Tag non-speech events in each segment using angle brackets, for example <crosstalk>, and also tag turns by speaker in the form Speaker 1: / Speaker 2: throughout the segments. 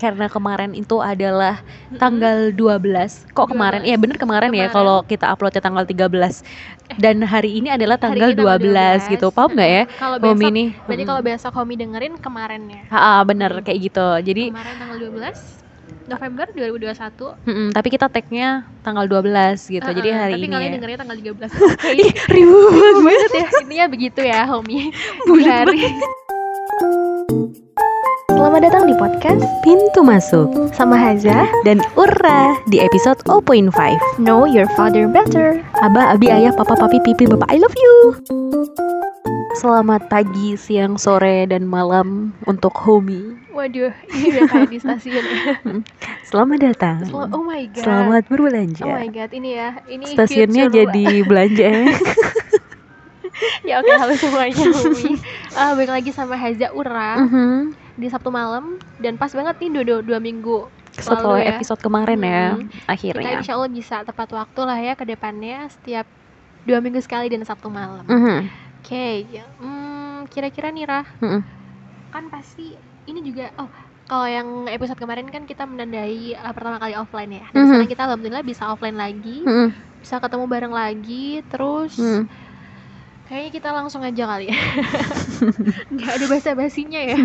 Speaker 1: karena kemarin itu adalah tanggal 12. Kok kemarin? Iya bener kemarin, ya
Speaker 2: Kemarin.
Speaker 1: kalau kita uploadnya tanggal 13. Dan hari ini adalah
Speaker 2: Hari
Speaker 1: tanggal
Speaker 2: ini tanggal
Speaker 1: 12, gitu. Paham nggak ya?
Speaker 2: Kalau
Speaker 1: Homi
Speaker 2: besok,
Speaker 1: nih.
Speaker 2: berarti
Speaker 1: Mm.
Speaker 2: kalau besok Homi dengerin kemarinnya.
Speaker 1: Ah, ah, bener kayak gitu. Jadi
Speaker 2: Kemarin tanggal 12 November 2021.
Speaker 1: mm-mm, tapi kita tag-nya tanggal 12 gitu. Jadi
Speaker 2: Uh-uh,
Speaker 1: hari
Speaker 2: tapi
Speaker 1: ini. ya.
Speaker 2: kalian
Speaker 1: Iya,
Speaker 2: dengerin tanggal
Speaker 1: <laughs>
Speaker 2: 13. Oke.
Speaker 1: Ih, ribut banget.
Speaker 2: ya, intinya begitu ya,
Speaker 1: <laughs>
Speaker 2: Homi.
Speaker 1: Bulat
Speaker 2: Hari.
Speaker 3: Selamat datang di podcast
Speaker 1: Pintu masuk
Speaker 3: sama Haza
Speaker 1: dan Ura di episode 0.5.
Speaker 3: Know Your Father Better
Speaker 1: Abah, Abi, Ayah, Papa, Papi, Pipi, Bapak, I love you. Selamat pagi, siang, sore, dan malam untuk Homi.
Speaker 2: Waduh, ini udah kayak di stasiun ya.
Speaker 1: Selamat datang.
Speaker 2: Sel- Oh my god.
Speaker 1: Selamat
Speaker 2: Oh my
Speaker 1: berbelanja.
Speaker 2: god, ini ya. Ini
Speaker 1: Stasiunnya
Speaker 2: future
Speaker 1: jadi
Speaker 2: <laughs>
Speaker 1: belanja. ya.
Speaker 2: Iya. ya oke halo semuanya Umi Ah, balik lagi sama Haza Ura
Speaker 1: Mhm.
Speaker 2: di Sabtu malam dan pas banget nih dua, dua, dua minggu
Speaker 1: Setelah
Speaker 2: ya.
Speaker 1: episode kemarin ya,
Speaker 2: Mhm. kita
Speaker 1: akhirnya.
Speaker 2: insya Allah bisa tepat waktu lah ya ke depannya setiap dua minggu sekali dan Sabtu malam oke
Speaker 1: Mhm.
Speaker 2: ya. Hmm, kira-kira nih Rah
Speaker 1: Mhm.
Speaker 2: kan pasti ini juga oh kalau yang episode kemarin kan kita menandai uh, pertama kali offline ya dan
Speaker 1: Mhm.
Speaker 2: sekarang kita alhamdulillah bisa offline lagi
Speaker 1: Mhm.
Speaker 2: bisa ketemu bareng lagi terus
Speaker 1: Mhm.
Speaker 2: Kayaknya kita langsung aja kali ya. <laughs> Nggak ada basa-basinya ya.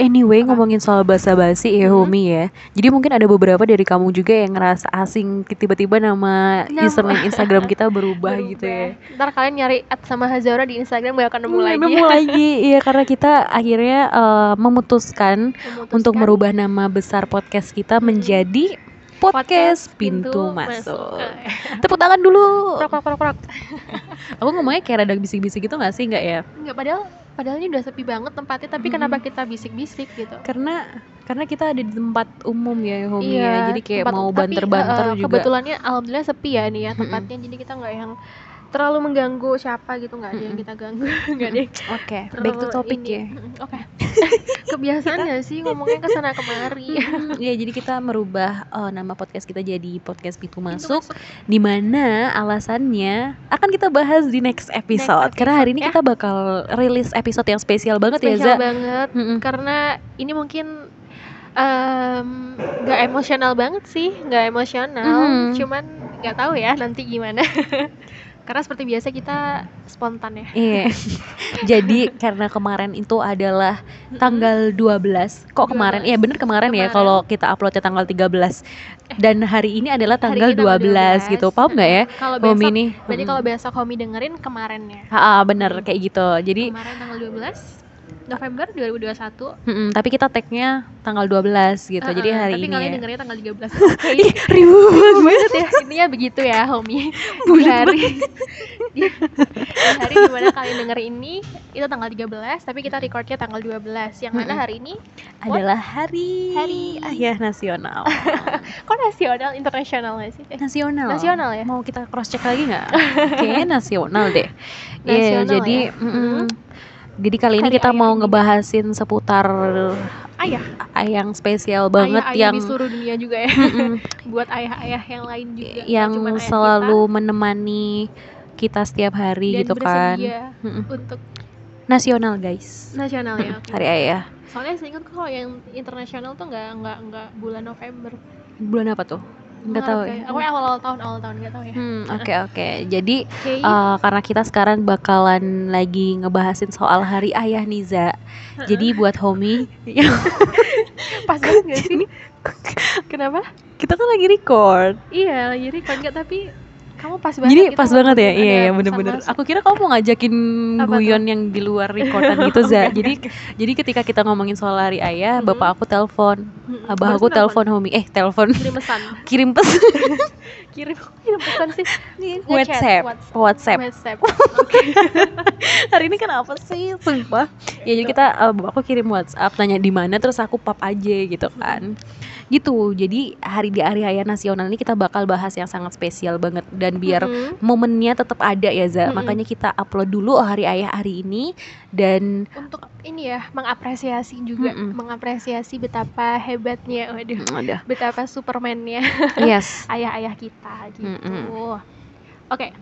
Speaker 1: Anyway,
Speaker 2: Apa?
Speaker 1: ngomongin soal basa-basi ya,
Speaker 2: Mhm.
Speaker 1: Homi ya. Jadi mungkin ada beberapa dari kamu juga yang ngerasa asing tiba-tiba nama
Speaker 2: Nama.
Speaker 1: username Instagram kita berubah, gitu ya.
Speaker 2: Berubah. Ntar kalian nyari at sama Hazara di Instagram gak akan nemu
Speaker 1: Hmm,
Speaker 2: lagi.
Speaker 1: nemu lagi. <laughs> Iya, karena kita akhirnya eh, memutuskan
Speaker 2: Memutuskan
Speaker 1: untuk merubah nama besar podcast kita
Speaker 2: Mm-mm.
Speaker 1: menjadi Podcast Pintu Masuk.
Speaker 2: Eh,
Speaker 1: Tepuk tangan dulu.
Speaker 2: Krok krok krok krok.
Speaker 1: Aku ngomongnya kayak rada bisik-bisik gitu gak sih? Enggak ya?
Speaker 2: Nggak, padahal padahal ini udah sepi banget tempatnya tapi
Speaker 1: Mm-mm.
Speaker 2: kenapa kita bisik-bisik gitu?
Speaker 1: Karena karena kita ada di tempat umum ya, Homi ya. Jadi kayak
Speaker 2: Iya, tempat-
Speaker 1: mau
Speaker 2: tapi,
Speaker 1: banter-banter
Speaker 2: eh, eh,
Speaker 1: juga.
Speaker 2: Kebetulannya alhamdulillah sepi ya nih ya
Speaker 1: Mm-mm.
Speaker 2: tempatnya. Jadi kita nggak yang terlalu mengganggu siapa gitu nggak ada yang kita ganggu <laughs> nggak ada yang
Speaker 1: Oke, back to
Speaker 2: terlalu
Speaker 1: topic
Speaker 2: ini.
Speaker 1: <laughs> ya.
Speaker 2: Mm-mm, oke <laughs> kebiasaan nggak sih ngomongnya kesana kemari
Speaker 1: Mm, ya jadi kita merubah eh, nama podcast kita jadi podcast pintu masuk,
Speaker 2: Pintu
Speaker 1: di mana alasannya akan kita bahas di next episode.
Speaker 2: Next
Speaker 1: Karena hari ini
Speaker 2: episode, ya.
Speaker 1: kita bakal rilis episode yang spesial banget ya Za.
Speaker 2: spesial banget
Speaker 1: Mm-mm.
Speaker 2: karena ini mungkin em, nggak emosional banget sih nggak emosional
Speaker 1: Mm.
Speaker 2: cuman nggak tahu ya nanti gimana <laughs> karena seperti biasa kita spontan ya
Speaker 1: <laughs> Iya. Jadi karena kemarin itu adalah Mm-hmm. tanggal 12. Kok kemarin?
Speaker 2: 12.
Speaker 1: Iya bener kemarin, ya
Speaker 2: Kemarin.
Speaker 1: kalau kita uploadnya tanggal 13. Dan hari ini adalah
Speaker 2: Hari
Speaker 1: tanggal
Speaker 2: ini tanggal
Speaker 1: 12, gitu. Paham nggak ya?
Speaker 2: Mm-hmm. kalau
Speaker 1: Homi
Speaker 2: besok
Speaker 1: nih.
Speaker 2: berarti
Speaker 1: Mm.
Speaker 2: kalau besok Homi dengerin kemarinnya
Speaker 1: Ha, bener kayak gitu. Jadi
Speaker 2: kemarin tanggal 12 November 2021
Speaker 1: mm-mm, tapi kita tag-nya tanggal 12 gitu. Jadi
Speaker 2: Uh-uh,
Speaker 1: hari
Speaker 2: tapi
Speaker 1: ini
Speaker 2: kalian
Speaker 1: ya. Iya,
Speaker 2: dengerin tanggal
Speaker 1: <laughs>
Speaker 2: 13 Oke.
Speaker 1: Ih, ribut
Speaker 2: Bulat ya intinya begitu ya homie di
Speaker 1: Bulat
Speaker 2: hari di, di hari dimana kalian denger ini itu tanggal 13 tapi kita recordnya tanggal 12 yang mana
Speaker 1: Mm-mm.
Speaker 2: hari ini
Speaker 1: adalah hari
Speaker 2: Hari.
Speaker 1: ayah nasional.
Speaker 2: kok nasional internasional gak sih Eh,
Speaker 1: nasional.
Speaker 2: Nasional ya?
Speaker 1: Mau kita cross check lagi nggak? <laughs> Kayaknya nasional deh. Iya,
Speaker 2: Nasional
Speaker 1: jadi
Speaker 2: ya?
Speaker 1: mm-mm. Jadi kali ini
Speaker 2: Hari
Speaker 1: kita
Speaker 2: ayah
Speaker 1: mau
Speaker 2: ini.
Speaker 1: ngebahasin seputar
Speaker 2: ayah
Speaker 1: ayah yang spesial banget
Speaker 2: ayah, ayah
Speaker 1: yang
Speaker 2: di seluruh dunia juga ya
Speaker 1: <laughs>
Speaker 2: <laughs>
Speaker 1: mm-mm,
Speaker 2: buat ayah-ayah yang lain juga Iya, nggak
Speaker 1: yang
Speaker 2: cuman ayah kita,
Speaker 1: selalu menemani kita setiap hari
Speaker 2: dan
Speaker 1: gitu kan.
Speaker 2: bersedia
Speaker 1: Mm-mm.
Speaker 2: untuk
Speaker 1: Nasional guys.
Speaker 2: nasional ya oke.
Speaker 1: Hari ayah.
Speaker 2: soalnya seingat kalau yang internasional tuh nggak nggak nggak bulan November
Speaker 1: Bulan apa tuh? Nggak tahu
Speaker 2: Maret
Speaker 1: ya.
Speaker 2: aku awal-awal tahun awal tahun nggak tahu ya
Speaker 1: Hmm, oke oke. Jadi
Speaker 2: oke
Speaker 1: Eh, karena kita sekarang bakalan lagi ngebahasin soal hari ayah Niza. Jadi buat Homi, yang-
Speaker 2: pas
Speaker 1: <laughs>
Speaker 2: banget gak sih kenapa
Speaker 1: kita kan lagi record.
Speaker 2: Iya, lagi record nggak tapi kamu pas banget.
Speaker 1: Jadi
Speaker 2: gitu
Speaker 1: pas banget ya.
Speaker 2: ngelakuin
Speaker 1: Iya,
Speaker 2: ada
Speaker 1: iya bener-bener.
Speaker 2: pesan masuk.
Speaker 1: Aku kira kamu mau ngajakin
Speaker 2: Apa tuh?
Speaker 1: guyon yang di luar recordan gitu, Za.
Speaker 2: Enggak,
Speaker 1: Jadi jadi ketika kita ngomongin soal hari ayah,
Speaker 2: Mhm.
Speaker 1: bapak aku telepon,
Speaker 2: Mm-mm.
Speaker 1: abah
Speaker 2: Barusan
Speaker 1: aku telepon Homi. Eh, telepon <laughs>
Speaker 2: kirim pesan,
Speaker 1: kirim pesan
Speaker 2: kirim kirim pesan
Speaker 1: <laughs>
Speaker 2: sih Ngechat,
Speaker 1: WhatsApp.
Speaker 2: WhatsApp.
Speaker 1: WhatsApp.
Speaker 2: WhatsApp.
Speaker 1: <laughs> Hari ini kenapa sih? Sumpah. Ya jadi kita eh, bapak aku kirim WhatsApp nanya di mana terus aku pap aja gitu kan. gitu jadi hari di hari raya nasional ini kita bakal bahas yang sangat spesial banget dan biar
Speaker 2: Mm-mm.
Speaker 1: momennya tetap ada ya Za
Speaker 2: Mm-mm.
Speaker 1: makanya kita upload dulu hari ayah hari ini dan
Speaker 2: untuk ini ya mengapresiasi juga,
Speaker 1: Mm-mm.
Speaker 2: mengapresiasi betapa hebatnya, waduh,
Speaker 1: Mm, ada
Speaker 2: betapa supermannya
Speaker 1: <laughs>
Speaker 2: <laughs>
Speaker 1: yes
Speaker 2: ayah-ayah kita gitu. Oke,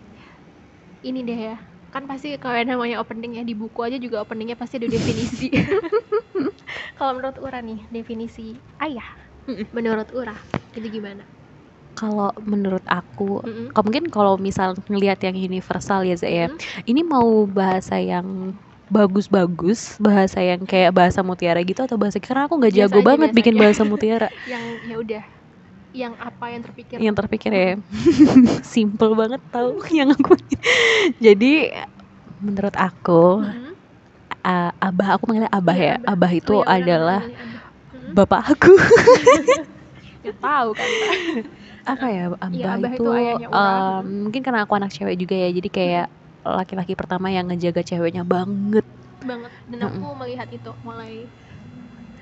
Speaker 2: ini deh ya kan pasti kalau yang namanya opening ya di buku aja juga
Speaker 1: <laughs>
Speaker 2: openingnya pasti ada definisi. kalau menurut Ura nih definisi ayah
Speaker 1: Mm-mm.
Speaker 2: menurut Ura itu gimana
Speaker 1: Kalau menurut aku,
Speaker 2: Mm-mm.
Speaker 1: kalau mungkin kalau misal ngelihat yang universal ya Zaya,
Speaker 2: Mm.
Speaker 1: ini mau bahasa yang bagus-bagus, bahasa yang kayak bahasa mutiara gitu atau bahasa karena aku nggak
Speaker 2: Biasa
Speaker 1: jago
Speaker 2: aja,
Speaker 1: banget
Speaker 2: biasa
Speaker 1: bikin
Speaker 2: aja.
Speaker 1: bahasa mutiara
Speaker 2: yang ya udah yang apa yang terpikir
Speaker 1: yang terpikir ya <laughs> simple banget tau <laughs> yang aku jadi menurut aku
Speaker 2: Mm-mm.
Speaker 1: a- abah aku manggilnya abah
Speaker 2: Iya,
Speaker 1: ya
Speaker 2: Abah.
Speaker 1: abah itu
Speaker 2: Oh, iya, benar,
Speaker 1: adalah
Speaker 2: benar, benar, Abah. Mm-mm. <laughs>
Speaker 1: bapak aku
Speaker 2: Nggak tahu kan Iya,
Speaker 1: apa ya abah,
Speaker 2: Abah itu
Speaker 1: itu,
Speaker 2: ayahnya orang. Hmm.
Speaker 1: em, mungkin karena aku anak cewek juga ya jadi kayak laki-laki pertama yang ngejaga ceweknya banget
Speaker 2: banget dan aku melihat itu mulai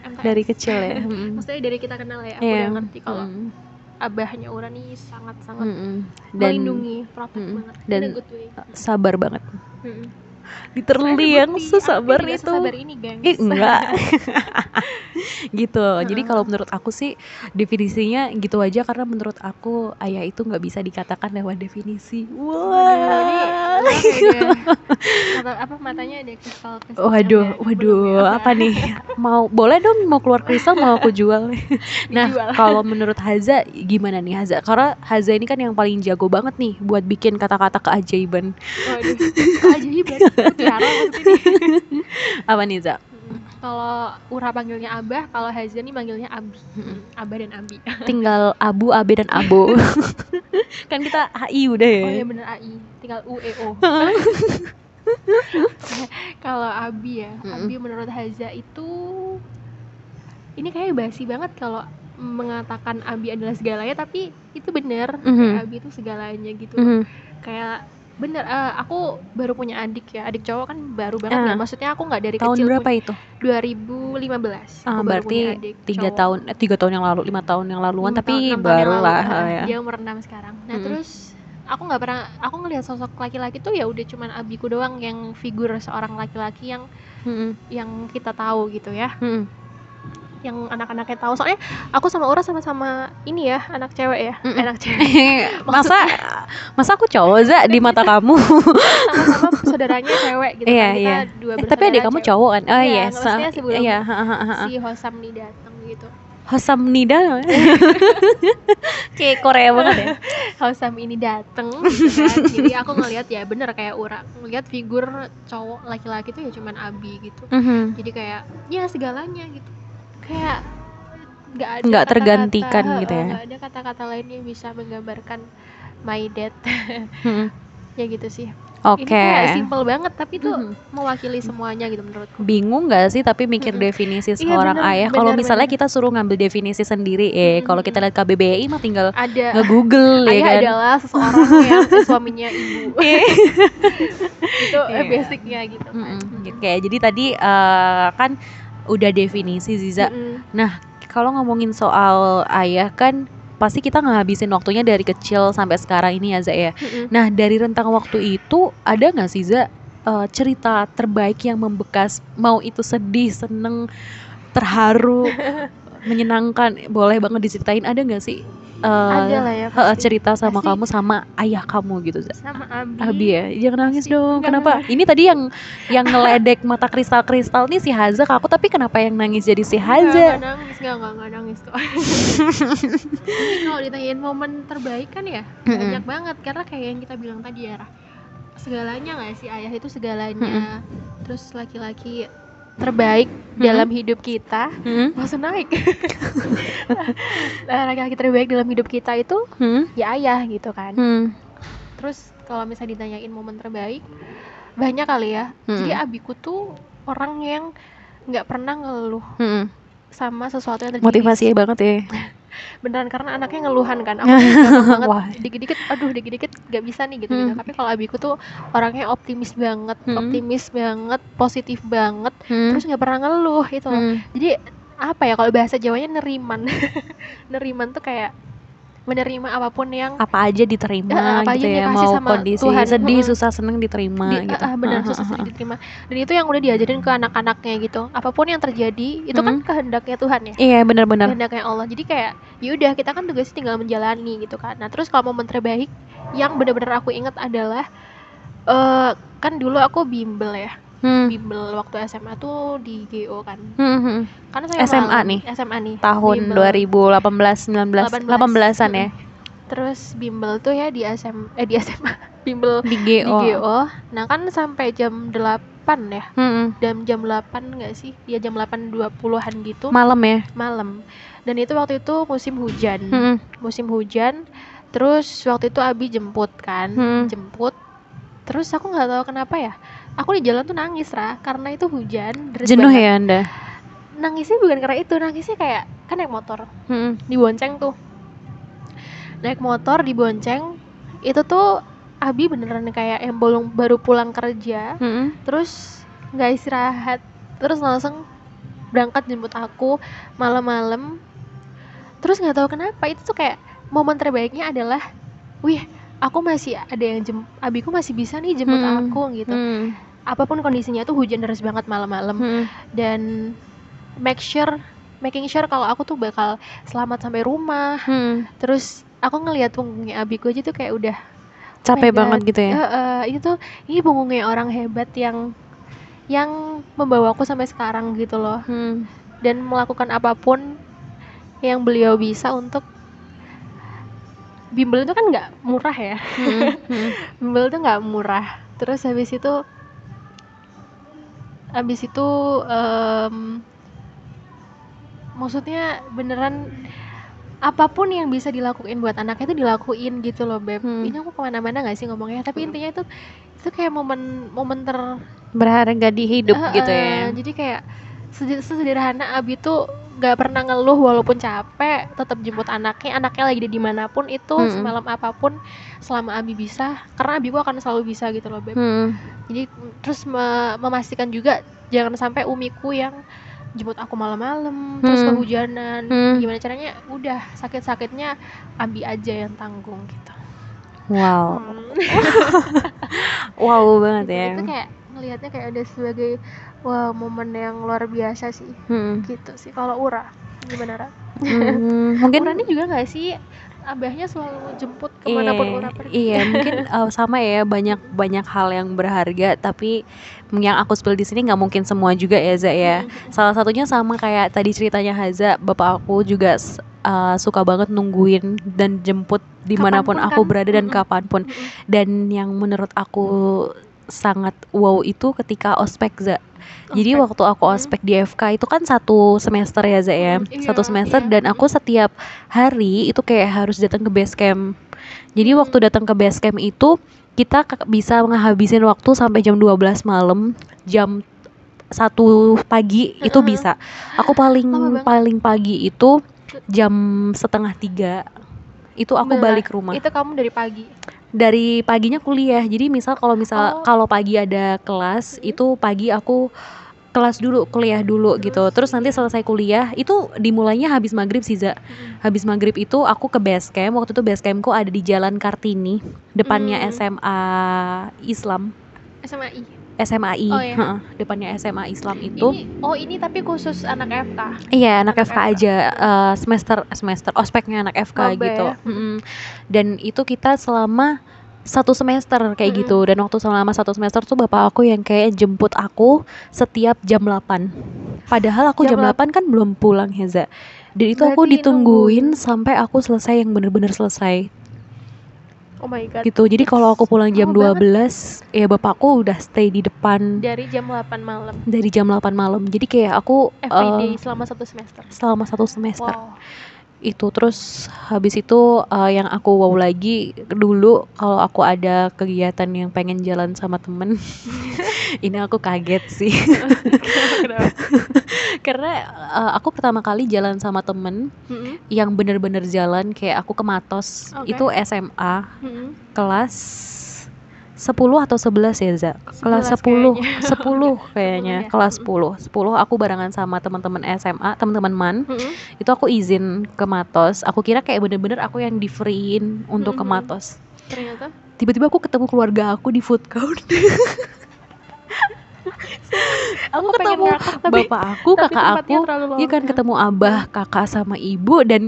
Speaker 2: MTS.
Speaker 1: dari kecil ya Mm-mm.
Speaker 2: <laughs> maksudnya dari kita kenal ya aku
Speaker 1: Iya.
Speaker 2: udah ngerti kalau
Speaker 1: Mm-mm.
Speaker 2: abahnya Ura nih sangat sangat
Speaker 1: Mm-mm. hmm, Mm. dan
Speaker 2: melindungi protek
Speaker 1: Mm-mm.
Speaker 2: banget
Speaker 1: Dan- uh,
Speaker 2: in a good way.
Speaker 1: sabar banget
Speaker 2: Mm-mm.
Speaker 1: literally
Speaker 2: Ada
Speaker 1: yang
Speaker 2: bukti,
Speaker 1: sesabar
Speaker 2: aku tidak
Speaker 1: itu
Speaker 2: sesabar ini gengs
Speaker 1: Eh, enggak gitu jadi
Speaker 2: Heeh.
Speaker 1: kalau menurut aku sih definisinya gitu aja karena menurut aku ayah itu nggak bisa dikatakan lewat definisi
Speaker 2: <laughs> Waduh, ini
Speaker 1: wah
Speaker 2: orang
Speaker 1: <laughs>
Speaker 2: kayak udah- mata- apa matanya ada kristal kristal
Speaker 1: waduh waduh
Speaker 2: ya.
Speaker 1: apa nih mau boleh dong mau keluar kristal mau aku
Speaker 2: <laughs>
Speaker 1: jual nah kalau menurut Haza gimana nih Haza karena Haza ini kan yang paling jago banget nih buat bikin kata-kata keajaiban
Speaker 2: waduh ajaiban mutiara maksudnya nih.
Speaker 1: apa nih Za
Speaker 2: Mm. kalau Ura panggilnya Abah kalau Hazia nih manggilnya Abi
Speaker 1: Mm-mm.
Speaker 2: Abah dan Abi
Speaker 1: tinggal Abu Abe dan Abo <laughs> kan kita HI udah ya
Speaker 2: oh iya bener AI tinggal U E O kalau Abi ya
Speaker 1: Mm-mm.
Speaker 2: Abi menurut Hazia itu ini kayaknya basi banget kalau mengatakan Abi adalah segalanya tapi itu bener
Speaker 1: Mhm.
Speaker 2: Abi itu segalanya gitu
Speaker 1: Mhm.
Speaker 2: kayak bener eh, aku baru punya adik ya adik cowok kan baru banget
Speaker 1: Ah.
Speaker 2: ya maksudnya aku nggak dari
Speaker 1: tahun
Speaker 2: kecil
Speaker 1: berapa itu? Ah,
Speaker 2: punya 2015 aku baru
Speaker 1: berarti
Speaker 2: punya adik
Speaker 1: tiga
Speaker 2: cowok.
Speaker 1: tahun eh, tiga tahun yang lalu lima tahun yang laluan
Speaker 2: Lima tahun-
Speaker 1: tapi
Speaker 2: enam tahun yang
Speaker 1: baru
Speaker 2: lalu,
Speaker 1: lah
Speaker 2: ah,
Speaker 1: ya
Speaker 2: dia umur enam sekarang nah
Speaker 1: Mm-mm.
Speaker 2: terus aku nggak pernah aku ngelihat sosok laki-laki tuh ya udah cuman abiku doang yang figur seorang laki-laki yang
Speaker 1: Mm-mm,
Speaker 2: yang kita tahu gitu ya <laughs>
Speaker 1: mm-mm,
Speaker 2: yang anak-anaknya tahu soalnya aku sama Ora sama-sama ini ya anak cewek ya
Speaker 1: Mm-mm.
Speaker 2: anak cewek <laughs>
Speaker 1: masa masa aku cowok za di mata kamu
Speaker 2: sama-sama saudaranya cewek gitu
Speaker 1: Iya,
Speaker 2: kan kita
Speaker 1: iya.
Speaker 2: dua
Speaker 1: Eh, <laughs> tapi adik
Speaker 2: bersaudara
Speaker 1: kamu
Speaker 2: cewek.
Speaker 1: cowok kan oh
Speaker 2: Iya,
Speaker 1: iya
Speaker 2: nggak
Speaker 1: sa-
Speaker 2: maksudnya sebelum-
Speaker 1: iya ha, ha, ha, ha.
Speaker 2: si Hosam nih datang gitu
Speaker 1: Hosam Nida
Speaker 2: <laughs>
Speaker 1: namanya. kayak Korea banget ya
Speaker 2: Hosam ini dateng gitu kan. jadi aku ngelihat ya bener kayak Ura ngelihat figur cowok laki-laki tuh ya cuman Abi gitu
Speaker 1: Mhm.
Speaker 2: jadi kayak ya segalanya gitu kayak nggak ada
Speaker 1: Nggak
Speaker 2: kata-kata,
Speaker 1: tergantikan gitu
Speaker 2: eh,
Speaker 1: ya.
Speaker 2: nggak ada kata-kata lain yang bisa menggambarkan my dad
Speaker 1: Mhm.
Speaker 2: <laughs> ya gitu sih ini
Speaker 1: oke
Speaker 2: kayak simple banget tapi tuh
Speaker 1: Mhm.
Speaker 2: mewakili semuanya gitu menurutku
Speaker 1: bingung gak sih tapi mikir
Speaker 2: Mm-mm.
Speaker 1: definisi
Speaker 2: Iya,
Speaker 1: seorang
Speaker 2: bener,
Speaker 1: ayah kalau
Speaker 2: bener,
Speaker 1: misalnya
Speaker 2: bener.
Speaker 1: kita suruh ngambil definisi sendiri eh kalau kita lihat KBBI mah tinggal
Speaker 2: ada
Speaker 1: nge-google ya
Speaker 2: Eh, ayah
Speaker 1: kan
Speaker 2: adalah seseorang yang suaminya
Speaker 1: <laughs>
Speaker 2: ibu itu eh,
Speaker 1: Iya.
Speaker 2: basicnya gitu kan.
Speaker 1: <laughs> Mm-mm.
Speaker 2: Mm-mm.
Speaker 1: Oke, jadi tadi eh, kan udah definisi Ziza.
Speaker 2: Mm-mm.
Speaker 1: Kalau ngomongin soal ayah kan pasti kita ngehabisin waktunya dari kecil sampai sekarang ini ya Za ya.
Speaker 2: Mm-mm.
Speaker 1: Nah dari rentang waktu itu ada nggak sih Za eh, cerita terbaik yang membekas? Mau itu sedih, seneng,
Speaker 2: <laughs>
Speaker 1: terharu, menyenangkan, boleh banget diceritain. Ada nggak sih? eh,
Speaker 2: ada lah ya
Speaker 1: eh, eh,
Speaker 2: pasti.
Speaker 1: cerita sama
Speaker 2: Pasti.
Speaker 1: kamu sama ayah kamu gitu Za.
Speaker 2: sama Abi,
Speaker 1: Abi ya, jangan nangis
Speaker 2: Pasti.
Speaker 1: dong.
Speaker 2: Enggak,
Speaker 1: Kenapa? Ini tadi yang yang ngeledek mata kristal-kristal nih si Haza ke aku, tapi kenapa yang nangis jadi si
Speaker 2: Nggak,
Speaker 1: Haza?
Speaker 2: nggak nangis nggak nggak nggak nangis
Speaker 1: <laughs>
Speaker 2: kok Ini kalau ditanyain momen terbaik kan ya
Speaker 1: Mm-mm.
Speaker 2: banyak banget karena kayak yang kita bilang tadi ya Rah. segalanya nggak sih ayah itu segalanya terus laki-laki terbaik dalam hidup kita
Speaker 1: Hmm?
Speaker 2: langsung naik Nah, laki-laki terbaik dalam hidup kita itu
Speaker 1: Hmm?
Speaker 2: ya ayah gitu kan
Speaker 1: Hmm?
Speaker 2: terus kalau misalnya ditanyain momen terbaik banyak kali ya
Speaker 1: Hmm.
Speaker 2: jadi abiku tuh orang yang nggak pernah ngeluh
Speaker 1: Hmm.
Speaker 2: sama sesuatu yang terjadi
Speaker 1: Motivasinya banget ya.
Speaker 2: beneran karena anaknya ngeluhan kan aku tuh
Speaker 1: <laughs>
Speaker 2: gampang banget
Speaker 1: Wah.
Speaker 2: dikit-dikit aduh dikit-dikit gak bisa nih gitu, gitu.
Speaker 1: Hmm.
Speaker 2: tapi kalau abiku tuh orangnya optimis banget
Speaker 1: Hmm.
Speaker 2: optimis banget positif banget
Speaker 1: Hmm?
Speaker 2: terus nggak pernah ngeluh gitu loh.
Speaker 1: Hmm.
Speaker 2: jadi apa ya kalau bahasa Jawanya neriman <laughs> neriman tuh kayak menerima apapun yang
Speaker 1: Apa aja diterima
Speaker 2: Eh, apa aja
Speaker 1: gitu ya,
Speaker 2: yang dikasih
Speaker 1: mau
Speaker 2: sama
Speaker 1: kondisi
Speaker 2: Tuhan.
Speaker 1: sedih,
Speaker 2: Mm-mm.
Speaker 1: susah, seneng diterima
Speaker 2: di,
Speaker 1: gitu.
Speaker 2: ah, ah,
Speaker 1: Ah,
Speaker 2: benar susah
Speaker 1: ah,
Speaker 2: sekali diterima dan itu yang udah diajarin ke anak-anaknya gitu apapun yang terjadi itu kan kehendaknya Tuhan ya
Speaker 1: ah. Iya benar-benar.
Speaker 2: kehendaknya Allah jadi kayak ya udah kita kan tugasnya tinggal menjalani gitu kan nah terus kalau momen terbaik yang benar-benar aku ingat adalah eh kan dulu aku bimbel ya
Speaker 1: Hmm.
Speaker 2: bimbel waktu SMA tuh di GO kan
Speaker 1: Hmm, hmm.
Speaker 2: karena saya
Speaker 1: SMA
Speaker 2: mengalami-
Speaker 1: nih?
Speaker 2: SMA nih
Speaker 1: Tahun
Speaker 2: bimbel.
Speaker 1: 2018 19
Speaker 2: 18.
Speaker 1: 18-an ya
Speaker 2: terus bimbel tuh ya di SM eh di SMA <laughs> bimbel
Speaker 1: di
Speaker 2: di
Speaker 1: GO.
Speaker 2: GO nah kan sampai jam 8 ya
Speaker 1: Hmm,
Speaker 2: dan jam 8 nggak sih ya jam 8.20an gitu
Speaker 1: hmm. Malam ya.
Speaker 2: malam dan itu waktu itu musim hujan
Speaker 1: Hmm,
Speaker 2: musim hujan terus waktu itu Abi jemput kan
Speaker 1: Hmm.
Speaker 2: jemput terus aku nggak tahu kenapa ya aku di jalan tuh nangis Ra karena itu hujan
Speaker 1: hmm.
Speaker 2: deras
Speaker 1: Jenuh
Speaker 2: banget.
Speaker 1: ya Anda.
Speaker 2: nangisnya bukan karena itu nangisnya kayak kan naik motor
Speaker 1: Hmm.
Speaker 2: dibonceng tuh naik motor dibonceng itu tuh Abi beneran kayak yang bolong baru pulang kerja
Speaker 1: hmm.
Speaker 2: terus nggak istirahat terus langsung berangkat jemput aku malam-malam terus nggak tahu kenapa itu tuh kayak momen terbaiknya adalah wih aku masih ada yang jem abiku masih bisa nih jemput
Speaker 1: Hmm.
Speaker 2: aku gitu
Speaker 1: Hmm.
Speaker 2: apapun kondisinya tuh hujan deras banget malam-malam
Speaker 1: Hmm.
Speaker 2: dan make sure making sure kalau aku tuh bakal selamat sampai rumah
Speaker 1: Hmm.
Speaker 2: terus aku ngelihat punggungnya abiku aja tuh kayak udah
Speaker 1: Capek
Speaker 2: God.
Speaker 1: banget gitu ya.
Speaker 2: "Eh, eh, ini tuh ini punggungnya orang hebat yang yang membawaku sampai sekarang gitu loh
Speaker 1: Hmm.
Speaker 2: dan melakukan apapun yang beliau bisa untuk bimbel itu kan nggak murah ya
Speaker 1: Hmm. Hmm.
Speaker 2: bimbel itu nggak murah terus habis itu habis itu em, maksudnya beneran apapun yang bisa dilakuin buat anaknya itu dilakuin gitu loh beb
Speaker 1: Hmm.
Speaker 2: ini aku kemana-mana nggak sih ngomongnya tapi intinya itu itu kayak momen momen ter
Speaker 1: <laughs> Berharga di hidup
Speaker 2: Eh,
Speaker 1: gitu
Speaker 2: eh,
Speaker 1: ya.
Speaker 2: jadi kayak sedi- sesederhana Abi tuh nggak pernah ngeluh walaupun capek tetap jemput anaknya anaknya lagi di dimanapun itu
Speaker 1: Mm-mm.
Speaker 2: semalam apapun selama Abi bisa karena Abi gua akan selalu bisa gitu loh Beb
Speaker 1: Hmm.
Speaker 2: jadi mm, terus me- memastikan juga jangan sampai umiku yang jemput aku malam-malam terus
Speaker 1: Hmm.
Speaker 2: kehujanan
Speaker 1: Hmm.
Speaker 2: gimana caranya udah sakit-sakitnya Abi aja yang tanggung gitu
Speaker 1: Wow.
Speaker 2: Hmm.
Speaker 1: Wow Oh,
Speaker 2: <laughs>
Speaker 1: banget
Speaker 2: Gitu.
Speaker 1: ya.
Speaker 2: itu kayak melihatnya kayak ada sebagai wah momen yang luar biasa sih
Speaker 1: Hmm.
Speaker 2: gitu sih kalau Ura gimana Ra?
Speaker 1: Hmm, Mungkin
Speaker 2: Ura ini juga nggak sih abahnya selalu jemput
Speaker 1: Iya,
Speaker 2: kemanapun Ura pergi
Speaker 1: Iya,
Speaker 2: <laughs>
Speaker 1: mungkin eh, sama ya banyak banyak hal yang berharga tapi yang aku spill di sini nggak mungkin semua juga ya Za ya.
Speaker 2: Hmm.
Speaker 1: Salah satunya sama kayak tadi ceritanya Haza, bapak aku juga s- eh, suka banget nungguin dan jemput dimanapun
Speaker 2: Kapanpun
Speaker 1: aku
Speaker 2: kan?
Speaker 1: berada dan
Speaker 2: Mm-mm.
Speaker 1: kapanpun.
Speaker 2: Mm-mm.
Speaker 1: Dan yang menurut aku sangat wow itu ketika ospek Za. Jadi
Speaker 2: Ospek.
Speaker 1: waktu aku
Speaker 2: Mm.
Speaker 1: ospek di FK itu kan satu semester ya Za ya,
Speaker 2: Mm,
Speaker 1: satu
Speaker 2: iya,
Speaker 1: semester
Speaker 2: iya.
Speaker 1: dan aku setiap hari itu kayak harus datang ke base camp. Jadi
Speaker 2: Mm.
Speaker 1: waktu datang ke base camp itu kita ke- bisa menghabisin waktu sampai jam 12 malam, jam satu pagi itu
Speaker 2: Mm-mm.
Speaker 1: bisa. Aku
Speaker 2: Lama
Speaker 1: paling
Speaker 2: banget.
Speaker 1: paling pagi itu jam setengah tiga itu aku
Speaker 2: Beneran.
Speaker 1: balik rumah
Speaker 2: itu kamu dari pagi
Speaker 1: dari paginya kuliah jadi misal kalau misal
Speaker 2: Oh.
Speaker 1: kalau pagi ada kelas
Speaker 2: Mhm.
Speaker 1: itu pagi aku kelas dulu kuliah dulu gitu terus
Speaker 2: Terus?
Speaker 1: nanti selesai kuliah itu dimulainya habis maghrib sih Za
Speaker 2: Mm.
Speaker 1: habis maghrib itu aku ke base camp waktu itu base campku ada di Jalan Kartini depannya
Speaker 2: Hmm.
Speaker 1: SMA Islam
Speaker 2: SMA I
Speaker 1: SMAI
Speaker 2: Oh, iya.
Speaker 1: heeh, depannya SMA Islam itu
Speaker 2: ini oh ini tapi khusus anak FK
Speaker 1: Iya anak,
Speaker 2: Anak
Speaker 1: FK,
Speaker 2: FK.
Speaker 1: aja eh, semester semester ospeknya anak FK
Speaker 2: Maba
Speaker 1: gitu
Speaker 2: ya.
Speaker 1: Mm-mm. dan itu kita selama satu semester kayak
Speaker 2: Mm-mm.
Speaker 1: gitu dan waktu selama satu semester tuh bapak aku yang kayak jemput aku setiap jam 8 padahal aku jam,
Speaker 2: Jam
Speaker 1: 8 kan belum pulang Heza dan itu aku
Speaker 2: Berarti
Speaker 1: ditungguin
Speaker 2: nungguin.
Speaker 1: sampai aku selesai yang bener-bener selesai
Speaker 2: oh my god
Speaker 1: gitu jadi kalau aku pulang jam
Speaker 2: Lama
Speaker 1: 12 ya bapakku udah stay di depan
Speaker 2: dari jam 8 malam
Speaker 1: dari jam 8 malam jadi kayak aku eh,
Speaker 2: everyday selama satu semester
Speaker 1: selama satu semester
Speaker 2: wow <laughs>
Speaker 1: itu terus habis itu eh, yang aku wow lagi dulu kalau aku ada kegiatan yang pengen jalan sama temen <laughs> ini aku kaget sih <laughs> karena eh, aku pertama kali jalan sama temen
Speaker 2: Mm-mm.
Speaker 1: yang bener-bener jalan kayak aku ke Matos
Speaker 2: Oke.
Speaker 1: itu SMA
Speaker 2: Mm-mm.
Speaker 1: kelas 10 atau 11 ya Za kelas 10
Speaker 2: 11 kayaknya. <laughs>
Speaker 1: 10 kayaknya
Speaker 2: 10 ya.
Speaker 1: kelas 10 10 aku barengan sama teman-teman SMA teman-teman man
Speaker 2: Mm-mm.
Speaker 1: itu aku izin ke Matos aku kira kayak bener-bener aku yang di freein untuk
Speaker 2: Mhm.
Speaker 1: ke Matos
Speaker 2: ternyata
Speaker 1: tiba-tiba aku ketemu keluarga aku di food court <laughs> aku
Speaker 2: pengen
Speaker 1: ketemu
Speaker 2: ngakak tapi
Speaker 1: bapak aku
Speaker 2: tapi
Speaker 1: kakak
Speaker 2: tempatnya
Speaker 1: aku
Speaker 2: terlalu
Speaker 1: iya kan
Speaker 2: lama.
Speaker 1: ketemu abah kakak sama ibu <laughs> dan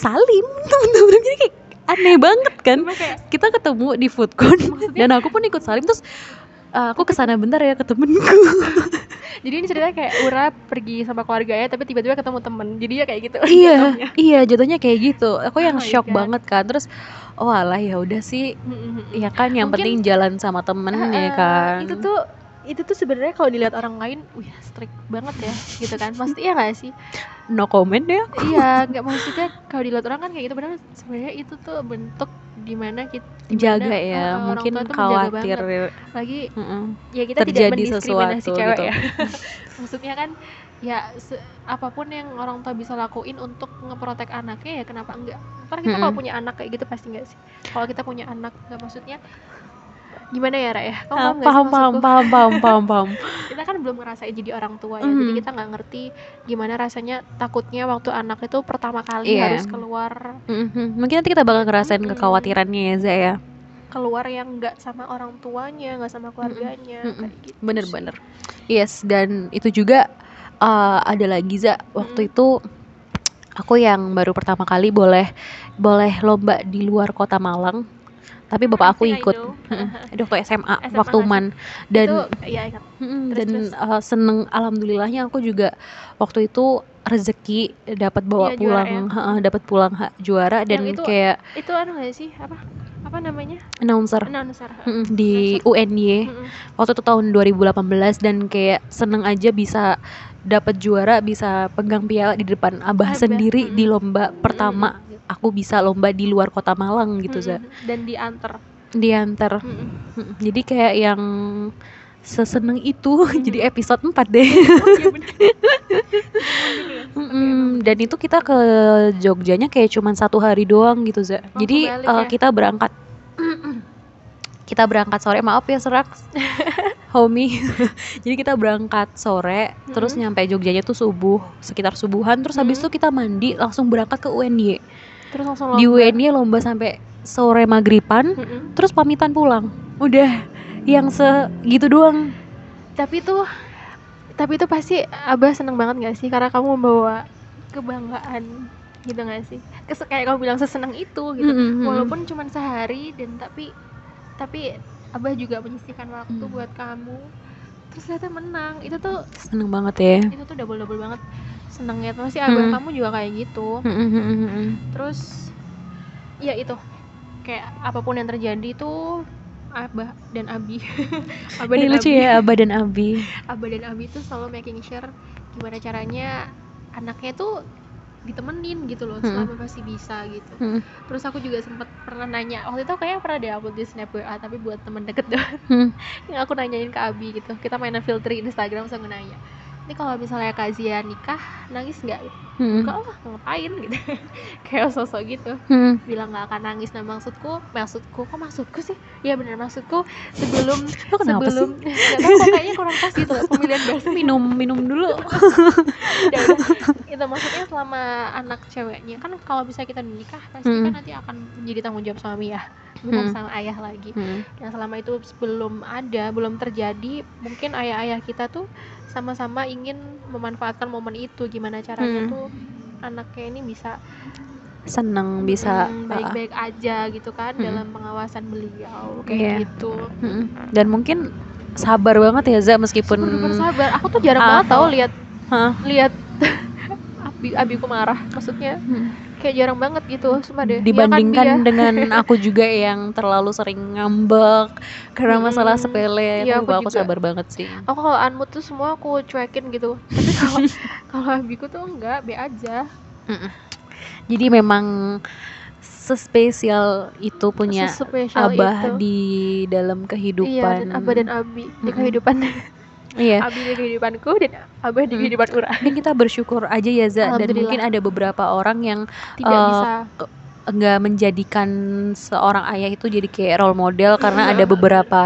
Speaker 1: salim temen-temen jadi kayak aneh banget kan
Speaker 2: Cuma kayak
Speaker 1: kita ketemu di food court
Speaker 2: Maksudnya-
Speaker 1: dan aku pun ikut salim terus "Eh, aku kesana bentar ya ke temenku
Speaker 2: Jadi ini ceritanya kayak Ura pergi sama keluarganya tapi tiba-tiba ketemu temen. Jadi ya kayak gitu.
Speaker 1: <laughs> iya iya jatuhnya kayak gitu aku yang
Speaker 2: Oh my
Speaker 1: shock
Speaker 2: God.
Speaker 1: banget kan terus oh alah ya udah sih
Speaker 2: Iya.
Speaker 1: ya kan yang
Speaker 2: Mungkin-
Speaker 1: penting jalan sama temen ya kan
Speaker 2: Itu tuh itu tuh sebenarnya kalau dilihat orang lain, wih strict banget ya, gitu kan? Maksudnya iya gak sih?
Speaker 1: no comment ya
Speaker 2: iya, nggak maksudnya kalau dilihat orang kan kayak gitu, padahal sebenarnya itu tuh bentuk gimana kita
Speaker 1: jaga ya
Speaker 2: orang
Speaker 1: mungkin
Speaker 2: tua tuh menjaga
Speaker 1: khawatir
Speaker 2: lagi
Speaker 1: Mm-mm.
Speaker 2: ya kita
Speaker 1: Terjadi
Speaker 2: tidak mendiskriminasi
Speaker 1: sesuatu
Speaker 2: cewek
Speaker 1: gitu. <laughs>
Speaker 2: ya. <laughs> Maksudnya kan ya se- apapun yang orang tua bisa lakuin untuk ngeprotek anaknya ya kenapa enggak? Karena kita kalau
Speaker 1: Mm-mm.
Speaker 2: punya anak kayak gitu pasti enggak sih. Kalau kita punya anak enggak maksudnya gimana ya Ra ya? Kamu paham
Speaker 1: Ah,
Speaker 2: nggak
Speaker 1: paham
Speaker 2: sih
Speaker 1: paham
Speaker 2: maksudku?
Speaker 1: paham paham paham <laughs> paham
Speaker 2: Kita kan belum ngerasain jadi orang tua ya. Jadi
Speaker 1: Mm.
Speaker 2: kita nggak ngerti gimana rasanya takutnya waktu anak itu pertama kali
Speaker 1: Iya.
Speaker 2: harus keluar
Speaker 1: Mhm. mungkin nanti kita bakal ngerasain
Speaker 2: Mm-mm.
Speaker 1: kekhawatirannya ya Zaya ya
Speaker 2: keluar yang enggak sama orang tuanya, enggak sama keluarganya
Speaker 1: Mm-mm.
Speaker 2: kayak gitu. sih.
Speaker 1: bener-bener yes dan itu juga eh, ada lagi za waktu
Speaker 2: Mm.
Speaker 1: itu aku yang baru pertama kali boleh boleh lomba di luar kota Malang tapi bapak aku
Speaker 2: Pasti I
Speaker 1: ikut
Speaker 2: know.
Speaker 1: Aduh, <laughs> waktu SMA,
Speaker 2: SMA
Speaker 1: waktu
Speaker 2: nggak sih?
Speaker 1: man dan
Speaker 2: itu ya ingat.
Speaker 1: mm,
Speaker 2: terus,
Speaker 1: dan
Speaker 2: terus.
Speaker 1: eh, seneng alhamdulillahnya aku juga waktu itu rezeki dapat bawa
Speaker 2: Iya, juara
Speaker 1: pulang heeh, dapat pulang ha- juara dan
Speaker 2: Yang itu-
Speaker 1: kayak
Speaker 2: itu anu gak sih apa apa namanya
Speaker 1: announcer
Speaker 2: announcer
Speaker 1: mm, di
Speaker 2: Announcer.
Speaker 1: UNY
Speaker 2: Nah, Mm-mm.
Speaker 1: waktu itu tahun 2018 dan kayak seneng aja bisa dapat juara bisa pegang piala di depan abah
Speaker 2: Abah,
Speaker 1: sendiri di
Speaker 2: mm.
Speaker 1: lomba pertama aku bisa lomba di luar kota Malang gitu za
Speaker 2: Mm-mm. dan diantar
Speaker 1: diantar
Speaker 2: Mm-mm.
Speaker 1: <laughs> Mm, Jadi kayak yang seseneng itu <laughs> jadi episode 4 deh.
Speaker 2: Oh, iya bener.
Speaker 1: Mm-mm, Dan itu kita ke Jogjanya kayak cuman satu hari doang gitu, Za.
Speaker 2: Langsung
Speaker 1: jadi
Speaker 2: balik
Speaker 1: eh,
Speaker 2: ya?
Speaker 1: kita berangkat kita berangkat sore, maaf ya
Speaker 2: <laughs>
Speaker 1: Serak. Homie. <laughs> jadi kita berangkat sore, terus
Speaker 2: Mhm.
Speaker 1: nyampe Jogjanya tuh subuh, sekitar subuhan, terus habis
Speaker 2: Mhm.
Speaker 1: itu kita mandi langsung berangkat ke UNY.
Speaker 2: terus langsung
Speaker 1: Di
Speaker 2: lomba.
Speaker 1: UNY lomba sampai sore magriban,
Speaker 2: Mm-mm.
Speaker 1: terus pamitan pulang. Udah yang segitu doang
Speaker 2: tapi itu tapi itu pasti abah seneng banget gak sih karena kamu membawa kebanggaan gitu gak sih Kes- kayak kamu bilang seseneng itu gitu
Speaker 1: Mm-mm.
Speaker 2: walaupun cuma sehari dan tapi tapi abah juga menyisihkan waktu
Speaker 1: Mm.
Speaker 2: buat kamu terus ternyata menang itu tuh
Speaker 1: seneng banget ya
Speaker 2: itu tuh double double banget senengnya tuh sih abah
Speaker 1: Mm.
Speaker 2: kamu juga kayak gitu terus ya itu kayak apapun yang terjadi itu abah dan abi <laughs> abah
Speaker 1: Ini
Speaker 2: dan
Speaker 1: lucu
Speaker 2: abi
Speaker 1: ya Abah dan
Speaker 2: <laughs>
Speaker 1: Abi
Speaker 2: abah dan abi itu selalu making sure gimana caranya anaknya tuh ditemenin gitu loh
Speaker 1: Mm.
Speaker 2: selama masih bisa gitu
Speaker 1: Mm.
Speaker 2: terus aku juga sempat pernah nanya waktu itu kayaknya pernah deh upload di snap WA tapi buat temen deket doang
Speaker 1: Mm.
Speaker 2: <laughs> yang aku nanyain ke Abi gitu kita mainan filter Instagram sama nanya ini kalau misalnya Kak Zia nikah nangis nggak
Speaker 1: Mm-mm.
Speaker 2: enggak lah ngapain <laughs> gitu kayak sosok gitu
Speaker 1: Mm.
Speaker 2: bilang nggak akan nangis nah maksudku maksudku kok maksudku sih ya bener maksudku sebelum
Speaker 1: <laughs> Lo kenapa
Speaker 2: sebelum
Speaker 1: sih?
Speaker 2: <laughs> nggak tahu kok kayaknya kurang pas gitu loh
Speaker 1: <laughs>
Speaker 2: pemilihan bahasa
Speaker 1: Minum, minum dulu
Speaker 2: <laughs> Ya udah. itu maksudnya selama anak ceweknya kan kalau bisa kita nikah pasti
Speaker 1: Hmm.
Speaker 2: kan nanti akan menjadi tanggung jawab suami ya bukan
Speaker 1: Hmm.
Speaker 2: sama ayah lagi yang selama itu belum ada, belum terjadi, mungkin ayah-ayah kita tuh sama-sama ingin memanfaatkan momen itu. Gimana caranya
Speaker 1: Hmm.
Speaker 2: tuh anaknya ini bisa
Speaker 1: Seneng bisa
Speaker 2: mm,
Speaker 1: uh,
Speaker 2: baik-baik aja gitu kan
Speaker 1: Mm-mm.
Speaker 2: dalam pengawasan
Speaker 1: Iya.
Speaker 2: beliau kayak gitu.
Speaker 1: mm-mm. Dan mungkin sabar banget ya Za meskipun
Speaker 2: Super sabar. Aku tuh jarang
Speaker 1: Ah.
Speaker 2: banget tau lihat
Speaker 1: Hah?
Speaker 2: lihat <laughs> abi abiku marah. Maksudnya
Speaker 1: Mm.
Speaker 2: kayak jarang banget gitu, sumpah deh. Iya kan,
Speaker 1: dibandingkan
Speaker 2: Bia? <laughs>
Speaker 1: dengan aku juga yang terlalu sering ngambek karena masalah
Speaker 2: Mm-mm.
Speaker 1: sepele
Speaker 2: Hmm. Iya,
Speaker 1: Itu
Speaker 2: aku
Speaker 1: aku
Speaker 2: juga.
Speaker 1: sabar banget sih
Speaker 2: aku kalau unmute tuh semua aku cuekin gitu <laughs> tapi
Speaker 1: <laughs>
Speaker 2: kalau kalau abiku tuh enggak be aja
Speaker 1: Jadi memang sespesial itu punya
Speaker 2: Sespesial
Speaker 1: Abah
Speaker 2: itu.
Speaker 1: di dalam kehidupan
Speaker 2: iya dan abah dan abi di
Speaker 1: Mm-mm.
Speaker 2: kehidupan
Speaker 1: <laughs>
Speaker 2: <laughs>
Speaker 1: Iya,
Speaker 2: abi di kehidupanku dan abah di
Speaker 1: Mm.
Speaker 2: kehidupan ura
Speaker 1: mungkin kita bersyukur aja ya Za dan
Speaker 2: Alhamdulillah.
Speaker 1: mungkin ada beberapa orang yang
Speaker 2: tidak
Speaker 1: Eh,
Speaker 2: bisa
Speaker 1: enggak menjadikan seorang ayah itu jadi kayak role model karena
Speaker 2: Iya.
Speaker 1: ada beberapa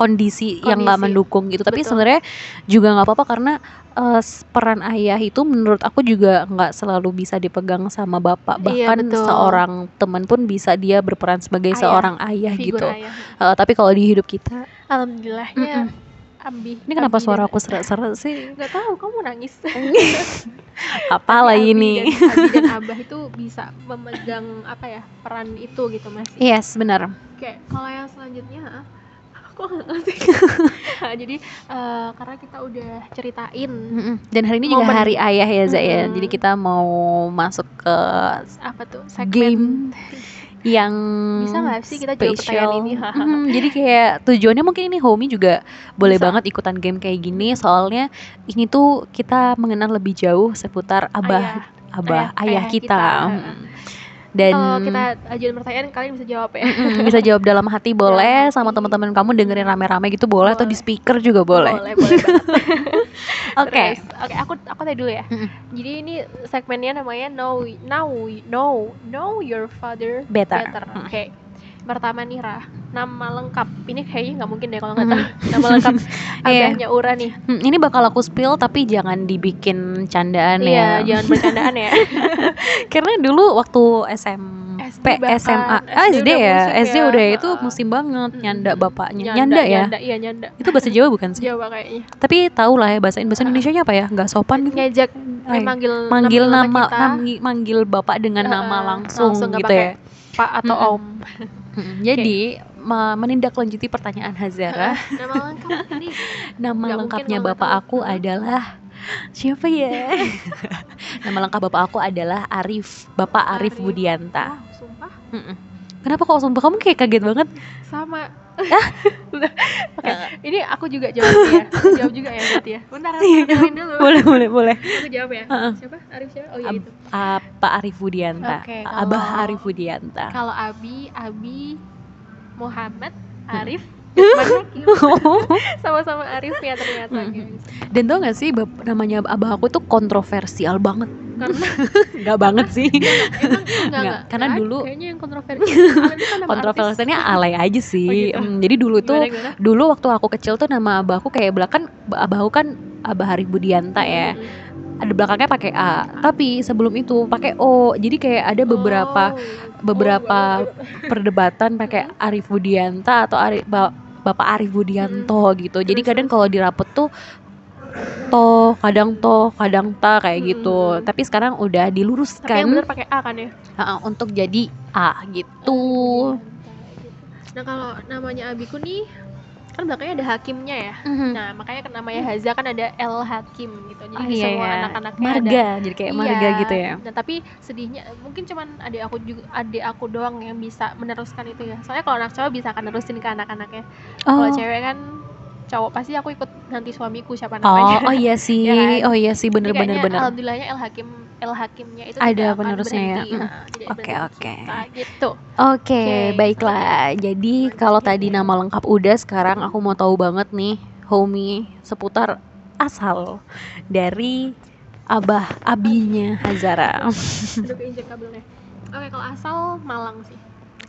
Speaker 1: kondisi, yang nggak
Speaker 2: Kondisi.
Speaker 1: mendukung gitu tapi
Speaker 2: Betul.
Speaker 1: sebenarnya juga nggak apa-apa karena eh, s- peran ayah itu menurut aku juga nggak selalu bisa dipegang sama bapak
Speaker 2: Iya,
Speaker 1: bahkan
Speaker 2: betul.
Speaker 1: seorang teman pun bisa dia berperan sebagai
Speaker 2: Ayah.
Speaker 1: seorang ayah
Speaker 2: figur
Speaker 1: gitu
Speaker 2: ayah
Speaker 1: Eh, tapi kalau di hidup kita
Speaker 2: alhamdulillahnya abi
Speaker 1: ini kenapa
Speaker 2: abi
Speaker 1: suara
Speaker 2: dan-
Speaker 1: aku seret-seret
Speaker 2: <laughs>
Speaker 1: sih
Speaker 2: nggak tahu kamu nangis <laughs>
Speaker 1: apalah
Speaker 2: Tapi abi
Speaker 1: ini
Speaker 2: dan, abi
Speaker 1: <laughs>
Speaker 2: dan abah itu bisa memegang apa ya peran itu gitu mas
Speaker 1: Iya. yes benar
Speaker 2: kayak kalau yang selanjutnya ah, aku nggak
Speaker 1: <laughs>
Speaker 2: ngerti Nah, jadi eh, karena kita udah ceritain
Speaker 1: Mm-mm. Dan hari ini juga
Speaker 2: Momen.
Speaker 1: hari ayah ya Zak ya.
Speaker 2: Mm-mm.
Speaker 1: Jadi kita mau masuk ke
Speaker 2: apa tuh segmen Ah,
Speaker 1: yang
Speaker 2: Bisa nggak sih kita jawab
Speaker 1: spesial.
Speaker 2: pertanyaan ini? <laughs>
Speaker 1: Mm, jadi kayak tujuannya mungkin ini Homie juga boleh
Speaker 2: Bisa.
Speaker 1: banget ikutan game kayak gini soalnya ini tuh kita mengenal lebih jauh seputar abah
Speaker 2: ayah.
Speaker 1: abah
Speaker 2: ayah-
Speaker 1: ayah,
Speaker 2: ayah
Speaker 1: kita.
Speaker 2: kita.
Speaker 1: Mm. Dan
Speaker 2: Kalau kita ajuin pertanyaan kalian bisa jawab ya.
Speaker 1: Mm, bisa jawab dalam
Speaker 2: <laughs>
Speaker 1: hati boleh
Speaker 2: Dalam
Speaker 1: sama
Speaker 2: hati.
Speaker 1: teman-teman kamu dengerin rame-rame gitu boleh, atau di
Speaker 2: Boleh.
Speaker 1: speaker juga <laughs> boleh.
Speaker 2: Boleh, boleh banget.
Speaker 1: <laughs> Oke. Hmm.
Speaker 2: Terus, Oke, aku aku tadi dulu ya.
Speaker 1: Mm-mm.
Speaker 2: Jadi ini segmennya namanya Know Now Know Know Your Father
Speaker 1: Better.
Speaker 2: Better.
Speaker 1: Mm.
Speaker 2: Oke. Pertama nih Rah, nama lengkap. Ini kayaknya nggak mungkin deh kalau nggak
Speaker 1: Mm.
Speaker 2: tahu nama lengkap
Speaker 1: <laughs> Iya.
Speaker 2: abahnya Ura nih.
Speaker 1: Hmm, ini bakal aku spill tapi jangan dibikin candaan ya.
Speaker 2: Iya, jangan bercandaan
Speaker 1: <laughs>
Speaker 2: ya.
Speaker 1: Karena dulu waktu SMP,
Speaker 2: SD bahkan.
Speaker 1: SMA, ah, SD,
Speaker 2: SD udah
Speaker 1: ya,
Speaker 2: musim
Speaker 1: SD
Speaker 2: ya.
Speaker 1: udah itu
Speaker 2: Heeh.
Speaker 1: musim banget
Speaker 2: Mm-mm.
Speaker 1: nyanda bapaknya, nyanda, ya.
Speaker 2: Nyanda, Ya. iya nyanda.
Speaker 1: Itu bahasa Jawa bukan sih?
Speaker 2: Jawa kayaknya.
Speaker 1: Tapi tau lah ya bahasa Indonesia nya apa ya? Nggak sopan gitu.
Speaker 2: Ngejak
Speaker 1: Ay,
Speaker 2: Eh, manggil
Speaker 1: manggil nama,
Speaker 2: iya. kita,
Speaker 1: namgi- manggil bapak dengan
Speaker 2: Heeh,
Speaker 1: nama langsung,
Speaker 2: langsung nggak
Speaker 1: gitu ya.
Speaker 2: Pak atau
Speaker 1: Mm-mm.
Speaker 2: Om. <laughs>
Speaker 1: Hmm, Jadi me- menindaklanjuti pertanyaan Hazara,
Speaker 2: Nama lengkap
Speaker 1: <laughs>
Speaker 2: ini
Speaker 1: nama
Speaker 2: nggak mungkin
Speaker 1: lengkapnya
Speaker 2: banget
Speaker 1: bapak
Speaker 2: tahu.
Speaker 1: aku
Speaker 2: Mm-mm.
Speaker 1: adalah siapa
Speaker 2: <laughs>
Speaker 1: ya? <laughs> nama lengkap bapak aku adalah Arif, Bapak Arif,
Speaker 2: Arif.
Speaker 1: Budianta.
Speaker 2: Wah, sumpah
Speaker 1: Mm-mm. Kenapa kok sumpah kamu kayak kaget banget? <laughs>
Speaker 2: sama. <laughs> Bentar. Oke, ini aku juga jawab ya. Aku jawab juga ya berarti ya. Bentar, aku
Speaker 1: <laughs> Iya,
Speaker 2: dengerin dulu.
Speaker 1: boleh boleh boleh.
Speaker 2: Aku jawab ya.
Speaker 1: Heeh.
Speaker 2: Siapa? Arif siapa? Oh iya
Speaker 1: Ab-
Speaker 2: itu.
Speaker 1: Uh, Pak Arif Budianta,
Speaker 2: Oke, kalau-
Speaker 1: Abah Arif
Speaker 2: <laughs>
Speaker 1: Budianta.
Speaker 2: Kalau Abi, Abi Muhammad
Speaker 1: Hmm. <laughs>
Speaker 2: Arif Lukman Hakim. sama-sama Arif ya ternyata
Speaker 1: Mm.
Speaker 2: guys.
Speaker 1: Dan tau gak sih bap- namanya abah aku tuh kontroversial banget.
Speaker 2: Karena
Speaker 1: <laughs> Gak banget
Speaker 2: <laughs>
Speaker 1: sih.
Speaker 2: emang enggak,
Speaker 1: Nggak, karena
Speaker 2: ada.
Speaker 1: dulu-
Speaker 2: kayaknya yang kontroversial. Kalian tuh kan nama artis.
Speaker 1: Kontroversialnya alay aja sih.
Speaker 2: Oh, gitu.
Speaker 1: Mm, jadi dulu tuh
Speaker 2: Gimana, gimana?
Speaker 1: dulu waktu aku kecil tuh nama abah aku kayak belakang abah aku kan Abah Arif Budianta ya.
Speaker 2: Hmm.
Speaker 1: Ada belakangnya pakai A, tapi sebelum itu pakai O. Jadi kayak ada beberapa
Speaker 2: Oh.
Speaker 1: beberapa
Speaker 2: Oh,
Speaker 1: perdebatan pakai Arif Budianta atau Ari- Ba- Bapak Arif Budianto gitu. Jadi
Speaker 2: Terus,
Speaker 1: kadang kalau di rapet tuh to, kadang to, kadang ta kayak gitu.
Speaker 2: Mm.
Speaker 1: Tapi sekarang udah
Speaker 2: Tapi yang
Speaker 1: diluruskan
Speaker 2: benar pakai A kan ya?
Speaker 1: ha, untuk jadi A gitu.
Speaker 2: Nah kalau namanya abiku nih kan belakangnya ada hakimnya ya.
Speaker 1: Mhm.
Speaker 2: Nah makanya kan namanya Haza kan ada L Hakim gitu. Jadi
Speaker 1: Oh,
Speaker 2: di
Speaker 1: iya,
Speaker 2: semua
Speaker 1: iya.
Speaker 2: anak-anaknya ada.
Speaker 1: marga jadi kayak marga
Speaker 2: Iya.
Speaker 1: gitu ya.
Speaker 2: Nah tapi sedihnya mungkin cuman adik aku juga adik aku doang yang bisa meneruskan itu ya. Soalnya kalau anak cowok bisa kan nerusin ke anak-anaknya.
Speaker 1: Oh.
Speaker 2: Kalau cewek kan cowok pasti aku ikut nanti suamiku
Speaker 1: Oh,
Speaker 2: siapa namanya.
Speaker 1: oh
Speaker 2: <laughs>
Speaker 1: iya sih.
Speaker 2: Iya
Speaker 1: Oh
Speaker 2: kan?
Speaker 1: iya sih
Speaker 2: Jadi
Speaker 1: bener-bener
Speaker 2: kayaknya
Speaker 1: bener.
Speaker 2: Alhamdulillahnya El Hakim El Hakimnya itu
Speaker 1: Ada
Speaker 2: tidak akan
Speaker 1: penerusnya ya. <laughs>
Speaker 2: berhenti.
Speaker 1: Mm.
Speaker 2: Nah, tidak
Speaker 1: Oke,
Speaker 2: berhenti
Speaker 1: oke.
Speaker 2: kita, gitu.
Speaker 1: Oke,
Speaker 2: Oke.
Speaker 1: baiklah. Jadi kalau tadi nama lengkap udah, sekarang aku mau tahu banget nih, homie, seputar asal dari abah abinya Hazara.
Speaker 2: Aduh keinjek kabelnya. Oke, kalau asal Malang sih.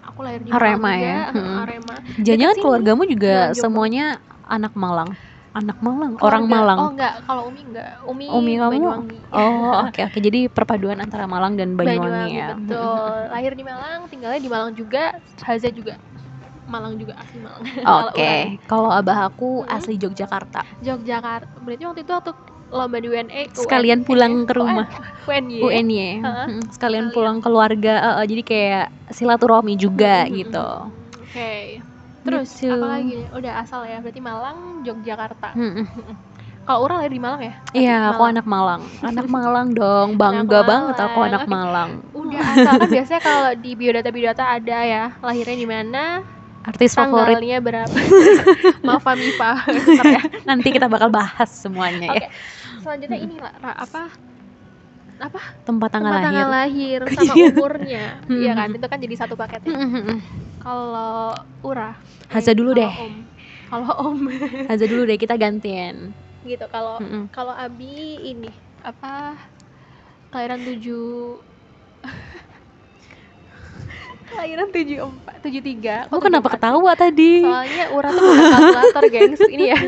Speaker 2: Aku lahir di
Speaker 1: Arema
Speaker 2: Malang
Speaker 1: ya,
Speaker 2: juga,
Speaker 1: mm.
Speaker 2: Arema.
Speaker 1: Jangan-jangan
Speaker 2: sini.
Speaker 1: keluargamu juga
Speaker 2: Keluarga aku.
Speaker 1: semuanya anak Malang, anak Malang, orang
Speaker 2: Keluarga-
Speaker 1: Malang.
Speaker 2: Oh enggak, kalau Umi enggak. Umi,
Speaker 1: Umi kamu?
Speaker 2: Banyuwangi.
Speaker 1: Oh, oke oke. Jadi perpaduan antara Malang dan Banyuwangi, ya.
Speaker 2: Betul. Lahir di Malang, tinggalnya di Malang juga, Haza juga. Malang juga asli Malang. <laughs> Kalau
Speaker 1: hmm, Oke,
Speaker 2: orang
Speaker 1: kalau abah aku
Speaker 2: Mm-mm.
Speaker 1: asli Yogyakarta.
Speaker 2: Yogyakarta. Berarti waktu itu waktu lomba di E, UNE.
Speaker 1: Sekalian
Speaker 2: E,
Speaker 1: pulang ke rumah.
Speaker 2: UNY.
Speaker 1: UNY.
Speaker 2: Iya. Heeh.
Speaker 1: Mm, Sekalian
Speaker 2: Sekalian.
Speaker 1: pulang keluarga, eh, eh, jadi kayak silaturahmi juga
Speaker 2: Mhm.
Speaker 1: gitu.
Speaker 2: Oke. Terus
Speaker 1: Gitu.
Speaker 2: apa lagi nih? Udah asal ya. Berarti Malang, Yogyakarta.
Speaker 1: Mm-mm.
Speaker 2: Kalau orang lahir di Malang ya?
Speaker 1: Iya, aku
Speaker 2: Malang.
Speaker 1: anak Malang. <laughs> Anak Malang dong, bangga
Speaker 2: Malang.
Speaker 1: banget aku anak
Speaker 2: Oke.
Speaker 1: Malang.
Speaker 2: Udah asal kan biasanya kalau di biodata biodata ada ya lahirnya di mana,
Speaker 1: Artis
Speaker 2: <laughs>
Speaker 1: favorit
Speaker 2: tanggalnya
Speaker 1: <laughs>
Speaker 2: berapa. Maaf Mifa. Bentar ya.
Speaker 1: nanti kita bakal bahas semuanya ya.
Speaker 2: Oke. Selanjutnya ini lah Ra, apa
Speaker 1: Tempat tanggal
Speaker 2: tempat
Speaker 1: lahir.
Speaker 2: tanggal lahir
Speaker 1: <laughs>
Speaker 2: sama
Speaker 1: Iya.
Speaker 2: umurnya. Iya kan?
Speaker 1: Hmm.
Speaker 2: Itu kan jadi satu paket ya.
Speaker 1: Mm-mm.
Speaker 2: Kalau Ura, eh,
Speaker 1: Haza dulu
Speaker 2: kalau
Speaker 1: deh.
Speaker 2: Om. Kalau Om <laughs>
Speaker 1: Aja dulu deh kita gantian.
Speaker 2: gitu kalau
Speaker 1: Mm-mm.
Speaker 2: kalau Abi ini apa kelahiran 7 <laughs> kelahiran 74 73
Speaker 1: Kamu
Speaker 2: kok
Speaker 1: kenapa
Speaker 2: 74?
Speaker 1: ketawa tadi?
Speaker 2: Oh, gitu. Soalnya Ura tuh buka kalkulator, gengs. Ini
Speaker 1: <laughs>
Speaker 2: ya.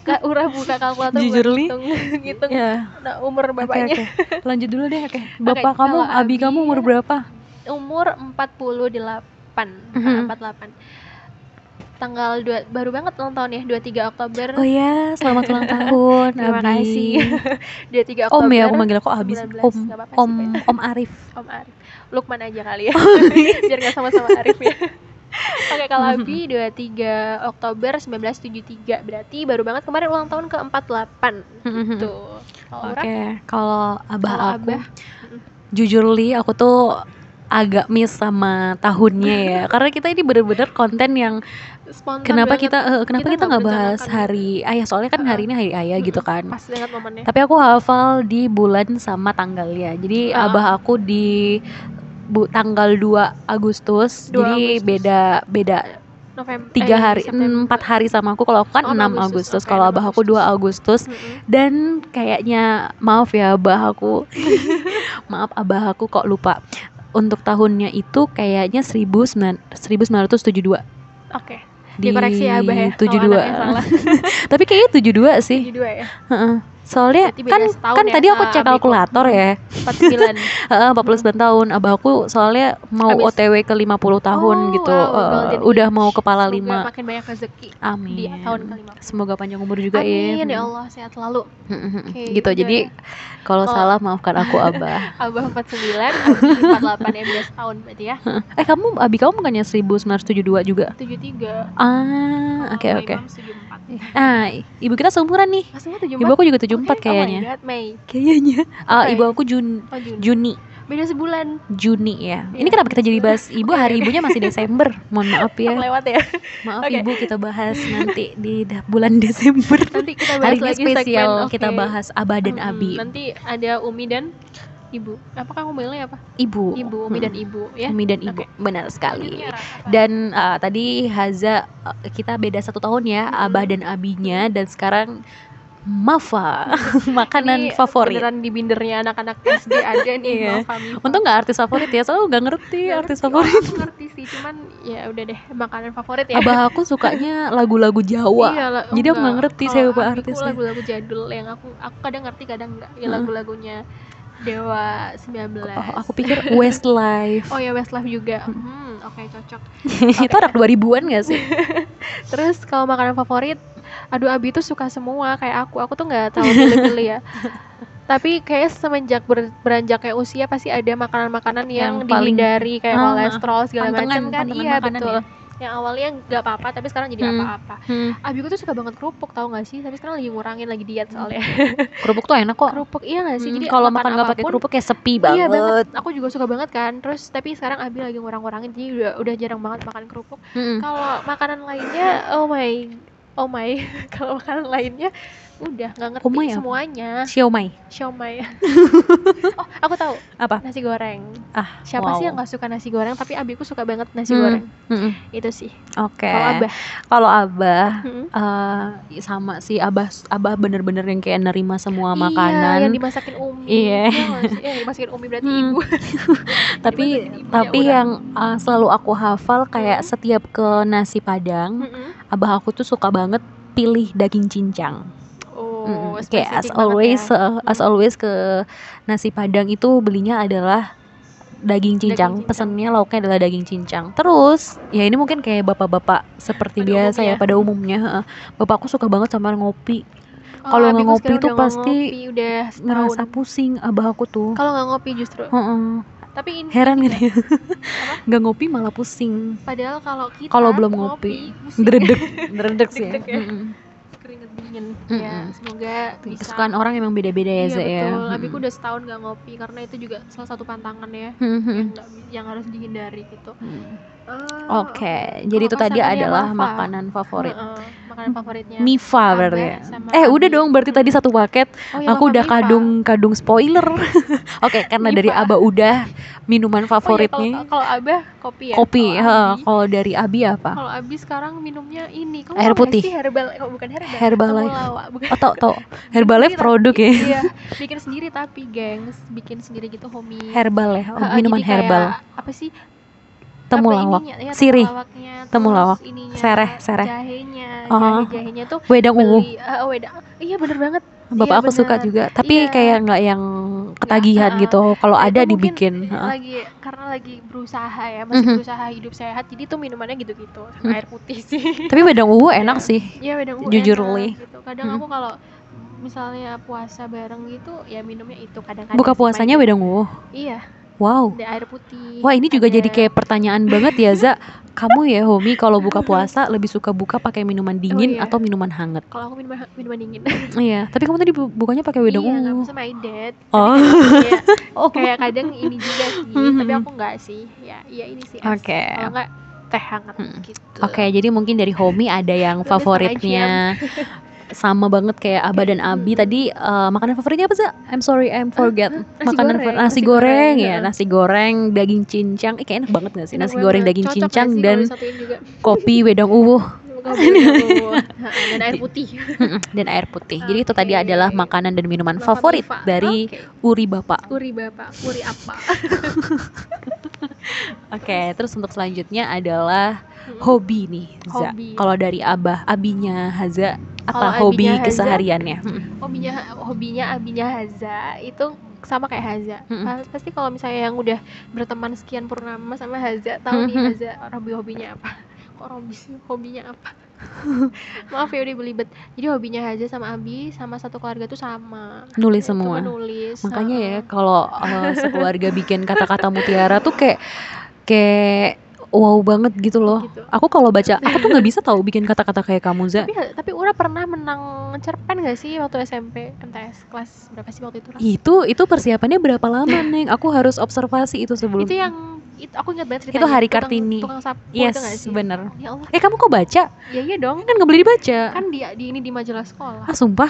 Speaker 2: Ka Ura buka kalkulator
Speaker 1: Jujur,
Speaker 2: buat
Speaker 1: Li.
Speaker 2: ngitung, ngitung
Speaker 1: Ya,
Speaker 2: nah, umur
Speaker 1: oke
Speaker 2: bapaknya. <laughs>
Speaker 1: oke. Lanjut dulu deh, oke. Bapak kamu,
Speaker 2: kalau
Speaker 1: abi kamu
Speaker 2: Abi-
Speaker 1: umur berapa?
Speaker 2: Umur 48.
Speaker 1: Mhm.
Speaker 2: Nah, 48. Tanggal dua, baru banget ulang tahun ya, 23 Oktober.
Speaker 1: Oh ya, selamat ulang tahun,
Speaker 2: iya. <laughs> Terima
Speaker 1: Abi.
Speaker 2: kasih. 23 Oktober.
Speaker 1: Om ya, aku manggil kok habis Om,
Speaker 2: 19, nggak apa-apa sih,
Speaker 1: Om, Oh, Om Arif.
Speaker 2: <laughs>
Speaker 1: iya. <laughs>
Speaker 2: Om Arif. Lukman aja kali ya. Biar nggak sama-sama Arif ya. Oke, pakai
Speaker 1: Mm-hmm.
Speaker 2: kalabi 23 Oktober 1973 berarti baru banget kemarin ulang tahun ke 48 gitu kalau
Speaker 1: Mm-hmm. Oke,
Speaker 2: Ra,
Speaker 1: kalau abah
Speaker 2: Kalau
Speaker 1: aku,
Speaker 2: abah.
Speaker 1: jujur li, aku tuh agak miss sama tahunnya ya,
Speaker 2: <laughs>
Speaker 1: karena kita ini bener-bener konten yang
Speaker 2: spontan
Speaker 1: kenapa
Speaker 2: banget.
Speaker 1: kita eh, kenapa
Speaker 2: Kita
Speaker 1: kita
Speaker 2: nggak
Speaker 1: nggak bahas
Speaker 2: merencanakan.
Speaker 1: hari ayah soalnya kan hari ini hari ayah gitu kan.
Speaker 2: pas banget momennya
Speaker 1: Tapi aku hafal di bulan sama tanggalnya. Jadi
Speaker 2: Ah.
Speaker 1: abah aku di bu, tanggal 2 Agustus.
Speaker 2: 2
Speaker 1: jadi
Speaker 2: Agustus.
Speaker 1: beda beda
Speaker 2: November eh,
Speaker 1: tiga hari mm, empat hari sama aku. Kalau aku kan 6
Speaker 2: Oh, enam
Speaker 1: Agustus.
Speaker 2: Agustus. Oke,
Speaker 1: Kalau
Speaker 2: enam
Speaker 1: abah aku 2
Speaker 2: Agustus.
Speaker 1: Agustus dan kayaknya maaf ya abah
Speaker 2: <laughs>
Speaker 1: aku. maaf abah aku kok lupa. Untuk tahunnya itu kayaknya 1900 1972
Speaker 2: oke dikoreksi ya abah ya
Speaker 1: 72.
Speaker 2: kalau anaknya salah
Speaker 1: Tapi kayaknya 72 sih.
Speaker 2: 72 ya
Speaker 1: Soalnya
Speaker 2: Berarti beda
Speaker 1: kan
Speaker 2: setahun
Speaker 1: kan
Speaker 2: ya Hmm.
Speaker 1: tadi aku
Speaker 2: sama
Speaker 1: cek
Speaker 2: abiku.
Speaker 1: kalkulator ya.
Speaker 2: 49
Speaker 1: Heeh, 49 tahun. Abah aku soalnya mau
Speaker 2: Habis-
Speaker 1: OTW ke 50 <laughs> tahun
Speaker 2: Oh,
Speaker 1: gitu. Eh,
Speaker 2: wow, well, jadi
Speaker 1: udah mau kepala
Speaker 2: semoga
Speaker 1: 5.
Speaker 2: makin banyak rezeki
Speaker 1: Amin.
Speaker 2: di tahun kelima
Speaker 1: Semoga panjang umur juga
Speaker 2: Amin
Speaker 1: ya.
Speaker 2: ya Allah sehat selalu
Speaker 1: Mm-mm.
Speaker 2: Oke,
Speaker 1: gitu.
Speaker 2: udah.
Speaker 1: Jadi kalau
Speaker 2: Kalau-
Speaker 1: salah maafkan
Speaker 2: <laughs>
Speaker 1: aku Abah.
Speaker 2: Abah 49,
Speaker 1: <laughs>
Speaker 2: Abdi 48 ya beda setahun berarti ya.
Speaker 1: eh kamu Abi kamu bukannya 1972 juga?
Speaker 2: 73.
Speaker 1: Ah, oke
Speaker 2: kalau
Speaker 1: oke.
Speaker 2: Imam 74.
Speaker 1: Nah, ibu kita seumuran nih.
Speaker 2: Mas Imam 74.
Speaker 1: Ibu aku juga 74
Speaker 2: Oke,
Speaker 1: kayaknya.
Speaker 2: Oh my god, Mei.
Speaker 1: Kayaknya. Ah,
Speaker 2: Oke.
Speaker 1: ibu aku Jun
Speaker 2: Oh, Juni.
Speaker 1: Juni,
Speaker 2: Beda sebulan.
Speaker 1: Juni ya. Ini
Speaker 2: Iya.
Speaker 1: kenapa kita jadi bahas
Speaker 2: <laughs>
Speaker 1: ibu?
Speaker 2: Oke,
Speaker 1: Hari
Speaker 2: oke.
Speaker 1: ibunya masih Desember. Mohon maaf ya.
Speaker 2: Lewat ya.
Speaker 1: Maaf
Speaker 2: <laughs> Oke.
Speaker 1: Ibu kita bahas nanti di da- bulan Desember.
Speaker 2: Nanti kita bahas
Speaker 1: Hari ini
Speaker 2: lagi
Speaker 1: spesial
Speaker 2: segmen.
Speaker 1: kita
Speaker 2: oke. Hmm,
Speaker 1: bahas Abah dan
Speaker 2: Mm-mm.
Speaker 1: Abi.
Speaker 2: Nanti ada Umi dan Ibu. Apakah aku bilangnya apa?
Speaker 1: Ibu.
Speaker 2: Ibu, Umi dan
Speaker 1: Hmm.
Speaker 2: Ibu ya.
Speaker 1: Umi dan Ibu.
Speaker 2: Oke.
Speaker 1: Benar sekali.
Speaker 2: Selanjutnya, Ra, apa?
Speaker 1: Dan uh, tadi Haza uh, kita beda satu tahun ya
Speaker 2: Mm-mm.
Speaker 1: Abah dan Abinya dan sekarang Mafa <laughs> makanan
Speaker 2: Ini
Speaker 1: favorit.
Speaker 2: Beneran di bindernya anak-anak SD aja nih.
Speaker 1: Iya.
Speaker 2: Maaf, Ami.
Speaker 1: Untung nggak artis favorit ya, soalnya nggak ngerti
Speaker 2: Nggak
Speaker 1: artis
Speaker 2: ngerti. Oh,
Speaker 1: favorit.
Speaker 2: aku ngerti sih, cuman ya udah deh makanan favorit ya.
Speaker 1: Abah aku sukanya lagu-lagu Jawa.
Speaker 2: Iya lah,
Speaker 1: Jadi aku nggak
Speaker 2: enggak.
Speaker 1: ngerti
Speaker 2: Kalau
Speaker 1: siapa
Speaker 2: Abiku
Speaker 1: artisnya. Hmm.
Speaker 2: Lagu-lagu jadul yang aku aku kadang ngerti kadang enggak. Ya
Speaker 1: Heeh.
Speaker 2: lagu-lagunya Dewa 19.
Speaker 1: Oh, aku pikir
Speaker 2: <laughs>
Speaker 1: Westlife. <laughs>
Speaker 2: Oh ya Westlife juga. Hmm, oke cocok.
Speaker 1: Itu anak 2000-an gak sih?
Speaker 2: Terus kalau makanan favorit, aduh Abi tuh suka semua kayak aku. Aku tuh nggak tahu
Speaker 1: <laughs>
Speaker 2: pilih-pilih ya. Tapi kayak semenjak ber- beranjaknya usia pasti ada makanan-makanan yang,
Speaker 1: Yang paling-
Speaker 2: dihindari kayak
Speaker 1: Ah,
Speaker 2: kolesterol segala
Speaker 1: pantangan,
Speaker 2: macam kan.
Speaker 1: pantangan
Speaker 2: Iya
Speaker 1: makanan
Speaker 2: betul.
Speaker 1: ya.
Speaker 2: Yang awalnya nggak apa-apa tapi sekarang jadi
Speaker 1: Hmm.
Speaker 2: apa-apa. Abi tuh suka banget kerupuk tau gak sih? Tapi sekarang lagi ngurangin lagi diet soalnya.
Speaker 1: Kerupuk tuh enak Hmm. kok.
Speaker 2: kerupuk iya gak sih
Speaker 1: Hmm,
Speaker 2: jadi
Speaker 1: kalau makan nggak pakai
Speaker 2: apapun,
Speaker 1: kerupuk kayak sepi
Speaker 2: iya
Speaker 1: banget.
Speaker 2: banget aku juga suka banget kan terus tapi sekarang abi lagi ngurang-ngurangin jadi udah, udah jarang banget makan kerupuk
Speaker 1: Mm-mm.
Speaker 2: kalau makanan lainnya oh my oh my <laughs> kalau makanan lainnya udah nggak ngerti
Speaker 1: Oh my apa?
Speaker 2: semuanya
Speaker 1: Siomay. <laughs>
Speaker 2: siomay oh aku tahu
Speaker 1: Apa?
Speaker 2: nasi goreng
Speaker 1: Ah,
Speaker 2: siapa sih
Speaker 1: wow.
Speaker 2: yang nggak suka nasi goreng tapi abiku suka banget nasi
Speaker 1: Hmm.
Speaker 2: goreng
Speaker 1: Mm-mm.
Speaker 2: itu sih
Speaker 1: Oke.
Speaker 2: kalau abah
Speaker 1: Kalau abah
Speaker 2: Mm-mm.
Speaker 1: eh, sama sih abah abah bener-bener yang kayak nerima semua
Speaker 2: iya, yang
Speaker 1: makanan.
Speaker 2: dimasakin umi
Speaker 1: Iya.
Speaker 2: Iya nggak sih? Iya, yang dimasakin umi berarti
Speaker 1: Hmm.
Speaker 2: ibu <laughs>
Speaker 1: tapi
Speaker 2: dimasakin ibu,
Speaker 1: tapi
Speaker 2: ya udah.
Speaker 1: yang eh, selalu aku hafal kayak
Speaker 2: Hmm.
Speaker 1: setiap ke nasi padang,
Speaker 2: Mm-mm.
Speaker 1: abah aku tuh suka banget pilih daging cincang.
Speaker 2: Oh,
Speaker 1: Mm-mm. Kayak Hmm.
Speaker 2: spesifik
Speaker 1: as
Speaker 2: banget
Speaker 1: always
Speaker 2: ya.
Speaker 1: eh, as
Speaker 2: Hmm.
Speaker 1: always ke nasi padang itu belinya adalah daging cincang.
Speaker 2: cincang.
Speaker 1: Pesennya lauknya adalah daging cincang. Terus ya ini mungkin kayak bapak-bapak seperti
Speaker 2: Pada
Speaker 1: biasa
Speaker 2: umumnya.
Speaker 1: ya pada umumnya. heeh. Bapakku suka banget sama ngopi.
Speaker 2: Oh,
Speaker 1: kalau nggak
Speaker 2: abiku
Speaker 1: ngopi
Speaker 2: sekarang
Speaker 1: tuh
Speaker 2: udah nggak
Speaker 1: pasti
Speaker 2: ngopi, udah setahun.
Speaker 1: Ngerasa pusing abah aku tuh.
Speaker 2: Kalau nggak ngopi justru.
Speaker 1: Heeh.
Speaker 2: Tapi ini
Speaker 1: Heran
Speaker 2: ini
Speaker 1: gitu ya.
Speaker 2: Apa?
Speaker 1: Nggak ngopi malah pusing.
Speaker 2: Padahal kalau kita
Speaker 1: Kalau belum ngopi,
Speaker 2: pusing, <laughs>
Speaker 1: Dredek, dredek sih. Ya.
Speaker 2: Deg-deg ya.
Speaker 1: Mm-mm.
Speaker 2: keringet dingin.
Speaker 1: Mm-mm.
Speaker 2: Ya, semoga bisa.
Speaker 1: Kesukaan orang emang beda-beda ya,
Speaker 2: Iya,
Speaker 1: Za ya.
Speaker 2: betul.
Speaker 1: Mm-mm.
Speaker 2: Abiku udah setahun nggak ngopi karena itu juga salah satu tantangan ya
Speaker 1: Mm-mm.
Speaker 2: yang nggak bi- yang harus dihindari gitu.
Speaker 1: Mm.
Speaker 2: Eh,
Speaker 1: Oke, jadi
Speaker 2: Kalau
Speaker 1: itu tadi
Speaker 2: pasangannya
Speaker 1: adalah
Speaker 2: Mafa.
Speaker 1: makanan favorit.
Speaker 2: Heeh, makanan favoritnya.
Speaker 1: Mifa
Speaker 2: Abah
Speaker 1: berarti ya.
Speaker 2: Iya. sama
Speaker 1: Eh udah
Speaker 2: Abi.
Speaker 1: dong berarti tadi satu paket.
Speaker 2: Oh, iya,
Speaker 1: Aku
Speaker 2: makan
Speaker 1: udah
Speaker 2: Mifa.
Speaker 1: kadung kadung spoiler. <laughs> Oke, karena dari
Speaker 2: Mifa.
Speaker 1: Aba udah minuman
Speaker 2: Oh, iya, kalau-
Speaker 1: favoritnya
Speaker 2: kalau Abah kopi ya.
Speaker 1: kopi.
Speaker 2: Kalau
Speaker 1: Heeh,
Speaker 2: Abi-
Speaker 1: Kalau dari Abi
Speaker 2: <laughs>
Speaker 1: apa?
Speaker 2: Kalau Abi sekarang minumnya ini, kamu
Speaker 1: Air
Speaker 2: tau nggak
Speaker 1: putih.
Speaker 2: sih herbal, kok bukan herbal,
Speaker 1: Herbalife.
Speaker 2: temulawak, bukan
Speaker 1: Oh, tau tau. Herbalife
Speaker 2: Bikin sendiri
Speaker 1: produk
Speaker 2: tapi-
Speaker 1: ya.
Speaker 2: Iya,
Speaker 1: <laughs>
Speaker 2: bikin sendiri tapi gengs, bikin sendiri gitu homie.
Speaker 1: Herbal ya. Oh,
Speaker 2: Heeh, jadi
Speaker 1: minuman
Speaker 2: kayak
Speaker 1: herbal.
Speaker 2: Apa sih?
Speaker 1: Temulawak.
Speaker 2: Apa ininya, ya,
Speaker 1: Sirih.
Speaker 2: temulawaknya, terus
Speaker 1: Temulawak.
Speaker 2: ininya,
Speaker 1: Sereh, sereh.
Speaker 2: Jahenya,
Speaker 1: Oh.
Speaker 2: jahe jahenya tuh
Speaker 1: Wedang ungu.
Speaker 2: beli eh, wedang. Iya bener banget.
Speaker 1: Bapak
Speaker 2: iya,
Speaker 1: aku suka
Speaker 2: bener.
Speaker 1: juga, tapi
Speaker 2: Iya.
Speaker 1: kayak nggak yang ketagihan
Speaker 2: heeh.
Speaker 1: gitu. Kalau
Speaker 2: Nah, itu
Speaker 1: ada
Speaker 2: mungkin
Speaker 1: dibikin. Heeh.
Speaker 2: Lagi karena lagi berusaha ya, masih
Speaker 1: Mhm.
Speaker 2: berusaha hidup sehat. Jadi tuh minumannya gitu-gitu, sama
Speaker 1: Mhm.
Speaker 2: air putih
Speaker 1: <laughs>
Speaker 2: sih.
Speaker 1: Tapi wedang ungu enak
Speaker 2: Iya.
Speaker 1: sih.
Speaker 2: Iya wedang ungu
Speaker 1: Jujur,
Speaker 2: enak
Speaker 1: Li.
Speaker 2: gitu. Kadang
Speaker 1: Mm.
Speaker 2: aku kalau misalnya puasa bareng gitu ya minumnya itu kadang-kadang
Speaker 1: Buka
Speaker 2: sih,
Speaker 1: puasanya
Speaker 2: mandi.
Speaker 1: wedang ungu.
Speaker 2: Iya,
Speaker 1: Wow.
Speaker 2: ada air putih.
Speaker 1: Wah ini juga
Speaker 2: ada- <laughs>
Speaker 1: jadi kayak pertanyaan banget ya Za kamu ya Homi kalau buka puasa lebih suka buka pakai minuman dingin
Speaker 2: iya.
Speaker 1: atau minuman hangat
Speaker 2: Kalau aku minuman minuman dingin.
Speaker 1: iya tapi kamu tadi bu- bukanya pakai wedang
Speaker 2: iya, nggak
Speaker 1: ungu
Speaker 2: sama my
Speaker 1: <laughs>
Speaker 2: dad.
Speaker 1: oh
Speaker 2: Iya,
Speaker 1: oh
Speaker 2: kayak kadang ini
Speaker 1: <laughs>
Speaker 2: juga sih, tapi aku nggak sih. Ya, iya ini sih. es.
Speaker 1: Mm-hmm. Oke.
Speaker 2: Kalau nggak teh hangat
Speaker 1: Mm.
Speaker 2: gitu.
Speaker 1: Oke, jadi mungkin dari Homi ada yang
Speaker 2: Lebih
Speaker 1: favoritnya <laughs> sama banget kayak Aba dan Abi.
Speaker 2: Hmm.
Speaker 1: Tadi eh, makanan favoritnya apa sih? I'm sorry, I'm forget.
Speaker 2: Ah, nasi
Speaker 1: makanan
Speaker 2: goreng,
Speaker 1: fa-
Speaker 2: nasi
Speaker 1: nasi goreng,
Speaker 2: goreng,
Speaker 1: ya,
Speaker 2: heeh.
Speaker 1: nasi goreng, daging cincang. Eh, kayak enak banget gak sih?
Speaker 2: Enak
Speaker 1: Nasi goreng,
Speaker 2: banget.
Speaker 1: daging
Speaker 2: Cocok nggak
Speaker 1: cincang
Speaker 2: sih
Speaker 1: dan
Speaker 2: kalau disatuin juga?
Speaker 1: kopi wedang uwuh <laughs>
Speaker 2: Kalau berdua. Heeh, dan air putih.
Speaker 1: Mm-mm, dan air putih. Jadi itu tadi
Speaker 2: Oke.
Speaker 1: adalah makanan dan minuman
Speaker 2: Bapak
Speaker 1: favorit
Speaker 2: Bifa.
Speaker 1: dari
Speaker 2: Oke.
Speaker 1: Uri Bapak.
Speaker 2: Kuri bapak, kuri apa?
Speaker 1: Oke, terus untuk selanjutnya adalah hobi nih, Za.
Speaker 2: Hmm. Hobi.
Speaker 1: Kalau dari Abah, abinya Haza apa
Speaker 2: Kalau
Speaker 1: hobi
Speaker 2: abinya Haza,
Speaker 1: kesehariannya? Mm-mm.
Speaker 2: hobinya hobinya abinya Haza itu sama kayak Haza
Speaker 1: Mm-mm.
Speaker 2: Pas- pasti kalau misalnya yang udah berteman sekian purnama sama Haza tahu nih
Speaker 1: Mm-mm.
Speaker 2: Haza hobi hobinya apa <laughs> kok hobi sih hobinya
Speaker 1: <laughs>
Speaker 2: apa maaf ya udah belibet jadi hobinya Haza sama Abi sama satu keluarga tuh sama
Speaker 1: Nulis
Speaker 2: Yaitu
Speaker 1: Iya, semua.
Speaker 2: menulis
Speaker 1: Makanya ya kalau eh, sekeluarga bikin kata-kata mutiara tuh kayak kayak wow banget gitu loh.
Speaker 2: gitu.
Speaker 1: Aku kalau baca aku tuh nggak bisa tahu bikin kata-kata kayak kamu Za.
Speaker 2: tapi tapi Ura pernah menang cerpen gak sih waktu SMP MTS kelas berapa sih waktu itu Ra?
Speaker 1: Itu itu persiapannya berapa
Speaker 2: <laughs>
Speaker 1: lama Neng? Aku harus observasi itu sebelum.
Speaker 2: itu yang itu aku ingat banget
Speaker 1: Itu
Speaker 2: ceritanya,
Speaker 1: Hari
Speaker 2: tukang-
Speaker 1: Kartini.
Speaker 2: tukang sapu itu gak
Speaker 1: yes,
Speaker 2: sih
Speaker 1: bener.
Speaker 2: ya Allah
Speaker 1: Eh kamu kok baca?
Speaker 2: ya iya dong
Speaker 1: Kan nggak boleh dibaca.
Speaker 2: kan dia di ini di majalah sekolah
Speaker 1: Ah sumpah?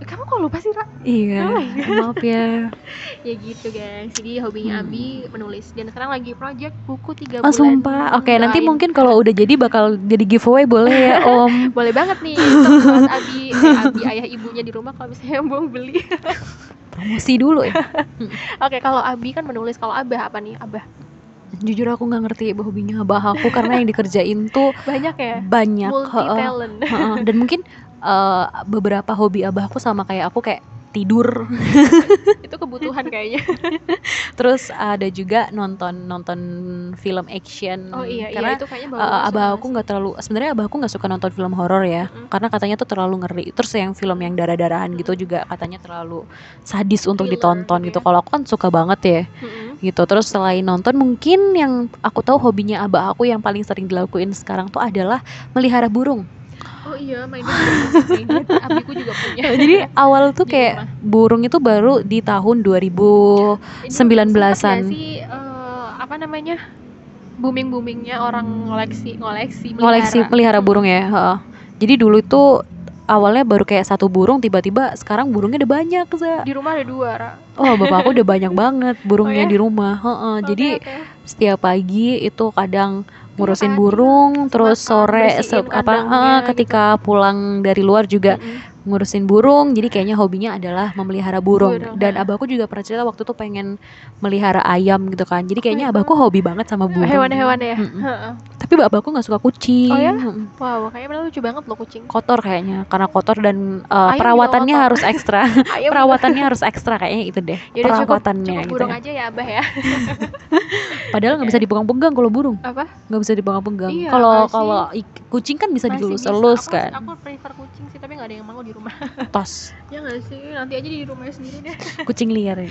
Speaker 2: Eh, kamu kok lupa sih Ra?
Speaker 1: Iya.
Speaker 2: Oh, iya.
Speaker 1: Maaf ya.
Speaker 2: ya gitu guys jadi hobinya
Speaker 1: Hmm.
Speaker 2: Abi menulis dan sekarang lagi project buku tiga
Speaker 1: Ah
Speaker 2: bulan
Speaker 1: sumpah. Oke nanti
Speaker 2: Doain.
Speaker 1: mungkin kalau udah jadi bakal jadi giveaway boleh ya
Speaker 2: <laughs>
Speaker 1: Om.
Speaker 2: boleh banget nih Tetep buat
Speaker 1: <laughs>
Speaker 2: Abi eh, Abi ayah ibunya di rumah kalau misalnya mau beli
Speaker 1: Promosi dulu ya.
Speaker 2: oke kalau Abi kan menulis kalau Abah apa nih Abah
Speaker 1: Jujur aku nggak ngerti hobinya abah aku karena yang dikerjain tuh
Speaker 2: banyak ya
Speaker 1: banyak.
Speaker 2: multi
Speaker 1: heeh.
Speaker 2: talent
Speaker 1: Heeh, dan mungkin eh, beberapa hobi abahku sama kayak aku kayak tidur
Speaker 2: <laughs>
Speaker 1: <laughs>
Speaker 2: itu kebutuhan kayaknya
Speaker 1: terus ada juga nonton nonton film action
Speaker 2: oh iya
Speaker 1: karena
Speaker 2: iya itu kayaknya baru
Speaker 1: eh,
Speaker 2: masuk
Speaker 1: abah
Speaker 2: banget
Speaker 1: aku
Speaker 2: sih.
Speaker 1: nggak terlalu sebenarnya abah aku nggak suka nonton film horor ya
Speaker 2: Mm-mm.
Speaker 1: karena katanya tuh terlalu ngeri terus yang film yang darah darahan gitu juga katanya terlalu sadis untuk
Speaker 2: Thriller
Speaker 1: ditonton
Speaker 2: gitu
Speaker 1: gitu
Speaker 2: ya.
Speaker 1: kalau aku kan suka banget ya
Speaker 2: Mm-mm.
Speaker 1: gitu terus selain nonton mungkin yang aku tahu hobinya abah aku yang paling sering dilakuin sekarang tuh adalah melihara
Speaker 2: <laughs>
Speaker 1: burung
Speaker 2: oh iya main dulu main dulu. Abiku juga punya
Speaker 1: <laughs>
Speaker 2: Iya.
Speaker 1: jadi awal tuh
Speaker 2: Di
Speaker 1: kayak
Speaker 2: rumah.
Speaker 1: burung itu baru di tahun 2000
Speaker 2: Ini
Speaker 1: Sembilan-belasan.
Speaker 2: sempet nggak sih eh, apa namanya booming boomingnya orang
Speaker 1: Hmm.
Speaker 2: ngoleksi ngoleksi
Speaker 1: koleksi
Speaker 2: melihara.
Speaker 1: pelihara burung ya. heeh. Jadi dulu itu awalnya baru kayak satu burung tiba-tiba sekarang burungnya udah banyak Za.
Speaker 2: di rumah ada dua Ra.
Speaker 1: Oh, bapak aku udah banyak banget burungnya
Speaker 2: <laughs> Oh ya?
Speaker 1: di rumah. heeh.
Speaker 2: Oke,
Speaker 1: Nah, Jadi
Speaker 2: oke.
Speaker 1: setiap pagi itu kadang ngurusin
Speaker 2: Makan,
Speaker 1: burung, terus
Speaker 2: makan,
Speaker 1: sore se-
Speaker 2: bersihin
Speaker 1: apa
Speaker 2: kandangnya
Speaker 1: heeh,
Speaker 2: gitu.
Speaker 1: ketika pulang dari luar juga
Speaker 2: Mm-mm.
Speaker 1: ngurusin burung. Jadi kayaknya hobinya adalah memelihara burung.
Speaker 2: Iya. Burung, iya.
Speaker 1: Dan
Speaker 2: ha.
Speaker 1: abahku juga pernah cerita waktu itu pengen melihara ayam gitu kan. Jadi kayaknya
Speaker 2: iya
Speaker 1: abahku hobi banget sama burung.
Speaker 2: hewan-hewan ya
Speaker 1: Mm-mm.
Speaker 2: Heeh.
Speaker 1: Tapi abahku nggak suka kucing.
Speaker 2: Oh ya?
Speaker 1: Mm-mm.
Speaker 2: wow kayaknya mereka lucu banget loh
Speaker 1: <laughs>
Speaker 2: kucing
Speaker 1: kotor kayaknya karena kotor dan uh,
Speaker 2: Ayam juga
Speaker 1: perawatannya
Speaker 2: kotor. Iya,
Speaker 1: harus
Speaker 2: <laughs>
Speaker 1: ekstra
Speaker 2: Ayo
Speaker 1: perawatannya harus ekstra kayaknya itu deh
Speaker 2: Yaudah, Ya cukup-
Speaker 1: perawatannya
Speaker 2: cukup
Speaker 1: gitu
Speaker 2: burung
Speaker 1: ya.
Speaker 2: aja ya abah ya
Speaker 1: padahal nggak bisa dipegang-pegang kalau burung
Speaker 2: Apa?
Speaker 1: nggak bisa dipegang-pegang
Speaker 2: Iya,
Speaker 1: kalau
Speaker 2: masih-
Speaker 1: kalau ik- kucing kan bisa
Speaker 2: Masih
Speaker 1: dielus-elus
Speaker 2: bisa.
Speaker 1: kan
Speaker 2: aku, aku prefer kucing sih tapi nggak ada yang mau di rumah <laughs>
Speaker 1: tos
Speaker 2: ya nggak sih nanti aja di rumahnya sendiri deh <laughs>
Speaker 1: kucing liar ya.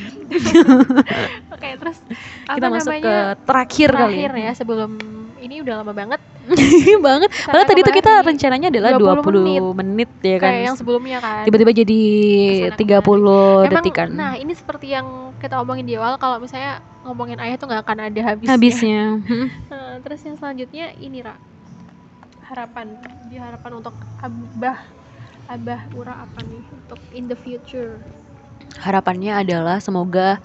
Speaker 2: oke terus
Speaker 1: kita
Speaker 2: apa
Speaker 1: masuk ke
Speaker 2: namanya
Speaker 1: terakhir, kali
Speaker 2: terakhir ya sebelum ini udah lama banget
Speaker 1: ya. <laughs> banget padahal tadi tuh kita
Speaker 2: rencana
Speaker 1: rencananya adalah 20
Speaker 2: 20
Speaker 1: menit, ya kan
Speaker 2: kayak yang sebelumnya kan
Speaker 1: tiba-tiba jadi
Speaker 2: Kesana
Speaker 1: 30
Speaker 2: Emang,
Speaker 1: detik kan
Speaker 2: Nah, ini seperti yang kita omongin di awal kalau misalnya ngomongin ayah tuh nggak akan ada habisnya.
Speaker 1: habisnya Hmm.
Speaker 2: <laughs> Nah, terus yang selanjutnya ini Ra. Harapan, di harapan untuk Abah Abah Ura apa nih untuk in the future?
Speaker 1: harapannya adalah semoga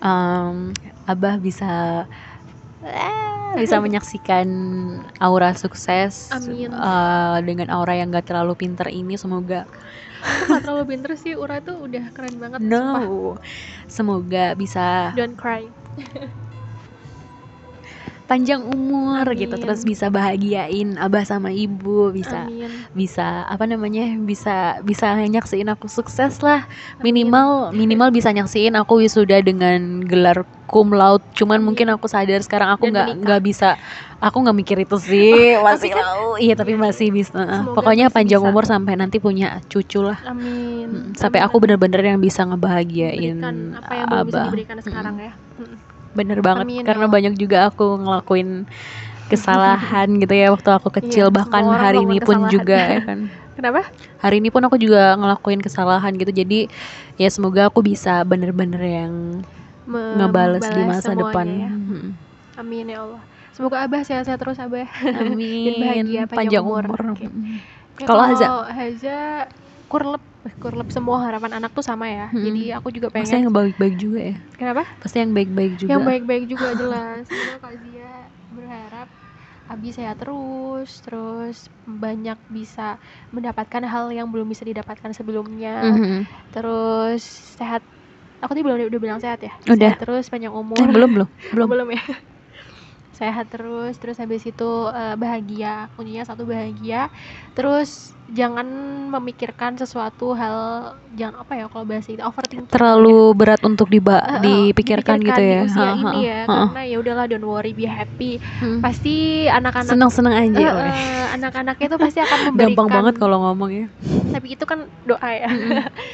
Speaker 1: em, abah bisa eh, bisa menyaksikan aura sukses
Speaker 2: Amin.
Speaker 1: eh, dengan aura yang gak terlalu pinter ini semoga
Speaker 2: Aku nggak terlalu pinter sih, Ura tuh udah keren banget sumpah.
Speaker 1: no semoga bisa
Speaker 2: Don't cry.
Speaker 1: panjang umur gitu
Speaker 2: Amin.
Speaker 1: terus bisa bahagiain abah sama ibu bisa
Speaker 2: Amin.
Speaker 1: bisa apa namanya bisa bisa nyaksiin aku sukses lah
Speaker 2: Amin.
Speaker 1: minimal minimal bisa nyaksiin aku wisuda dengan gelar cum laude cuman
Speaker 2: Amin.
Speaker 1: mungkin aku sadar sekarang aku
Speaker 2: Dan
Speaker 1: nggak
Speaker 2: menikah.
Speaker 1: nggak bisa aku nggak mikir itu sih
Speaker 2: <laughs>
Speaker 1: masih lau iya tapi
Speaker 2: Iya,
Speaker 1: masih bisa Eh,
Speaker 2: Semoga
Speaker 1: pokoknya
Speaker 2: masih
Speaker 1: panjang
Speaker 2: bisa.
Speaker 1: umur sampai nanti punya cucu lah Mm,
Speaker 2: Amin.
Speaker 1: sampai
Speaker 2: Amin.
Speaker 1: aku bener-bener yang bisa ngebahagiain
Speaker 2: Berikan apa yang belum bisa
Speaker 1: abah Mm.
Speaker 2: diberikan sekarang ya.
Speaker 1: bener banget
Speaker 2: Amin, ya
Speaker 1: karena
Speaker 2: Allah.
Speaker 1: banyak juga aku ngelakuin
Speaker 2: <laughs>
Speaker 1: kesalahan gitu ya waktu aku kecil
Speaker 2: Iya,
Speaker 1: bahkan
Speaker 2: semua orang
Speaker 1: hari ini
Speaker 2: melakukan
Speaker 1: pun
Speaker 2: kesalahan.
Speaker 1: juga
Speaker 2: <laughs>
Speaker 1: ya kan
Speaker 2: Kenapa?
Speaker 1: hari ini pun aku juga ngelakuin kesalahan gitu jadi ya semoga aku bisa bener-bener yang ngebales di
Speaker 2: Membalas
Speaker 1: masa
Speaker 2: semuanya
Speaker 1: depan Mm-hmm.
Speaker 2: ya. <laughs>
Speaker 1: Mm-mm.
Speaker 2: Amin ya Allah. Semoga Abah sehat-sehat terus Abah.
Speaker 1: amin
Speaker 2: bahagia,
Speaker 1: panjang,
Speaker 2: panjang umur.
Speaker 1: umur,
Speaker 2: Oke.
Speaker 1: Mm.
Speaker 2: Ya,
Speaker 1: Kalau Haza?
Speaker 2: Haza kurlep Eh, kurlep semua harapan anak tuh sama ya.
Speaker 1: Mm-mm.
Speaker 2: Jadi aku juga
Speaker 1: pasti
Speaker 2: pengen.
Speaker 1: yang baik-baik Hmm. juga ya
Speaker 2: Kenapa?
Speaker 1: pasti yang baik-baik juga
Speaker 2: Yang baik-baik
Speaker 1: <laughs>
Speaker 2: juga jelas. Semoga Kak Zia berharap Abi sehat terus, terus banyak bisa mendapatkan hal yang belum bisa didapatkan sebelumnya.
Speaker 1: Mhm.
Speaker 2: Terus sehat. Aku tadi belum udah bilang sehat ya.
Speaker 1: Udah.
Speaker 2: Sehat terus panjang umur.
Speaker 1: Eh, belum belum belum
Speaker 2: belum ya <laughs> sehat terus terus habis itu eh, bahagia kuncinya satu bahagia terus jangan memikirkan sesuatu hal jangan apa ya kalau bahasa itu overthinking
Speaker 1: terlalu berat untuk diba
Speaker 2: Eh, eh,
Speaker 1: dipikirkan, gitu
Speaker 2: di
Speaker 1: ya.
Speaker 2: usia
Speaker 1: Ha, ha,
Speaker 2: ini ya
Speaker 1: ha, ha.
Speaker 2: karena ya udahlah don't worry be happy
Speaker 1: Hmm.
Speaker 2: pasti anak-anak
Speaker 1: Seneng-seneng aja.
Speaker 2: eh,
Speaker 1: weh.
Speaker 2: eh, anak-anaknya itu pasti akan memberikan
Speaker 1: <laughs> Gampang banget kalau ngomong
Speaker 2: <laughs>
Speaker 1: ya.
Speaker 2: tapi itu kan doa ya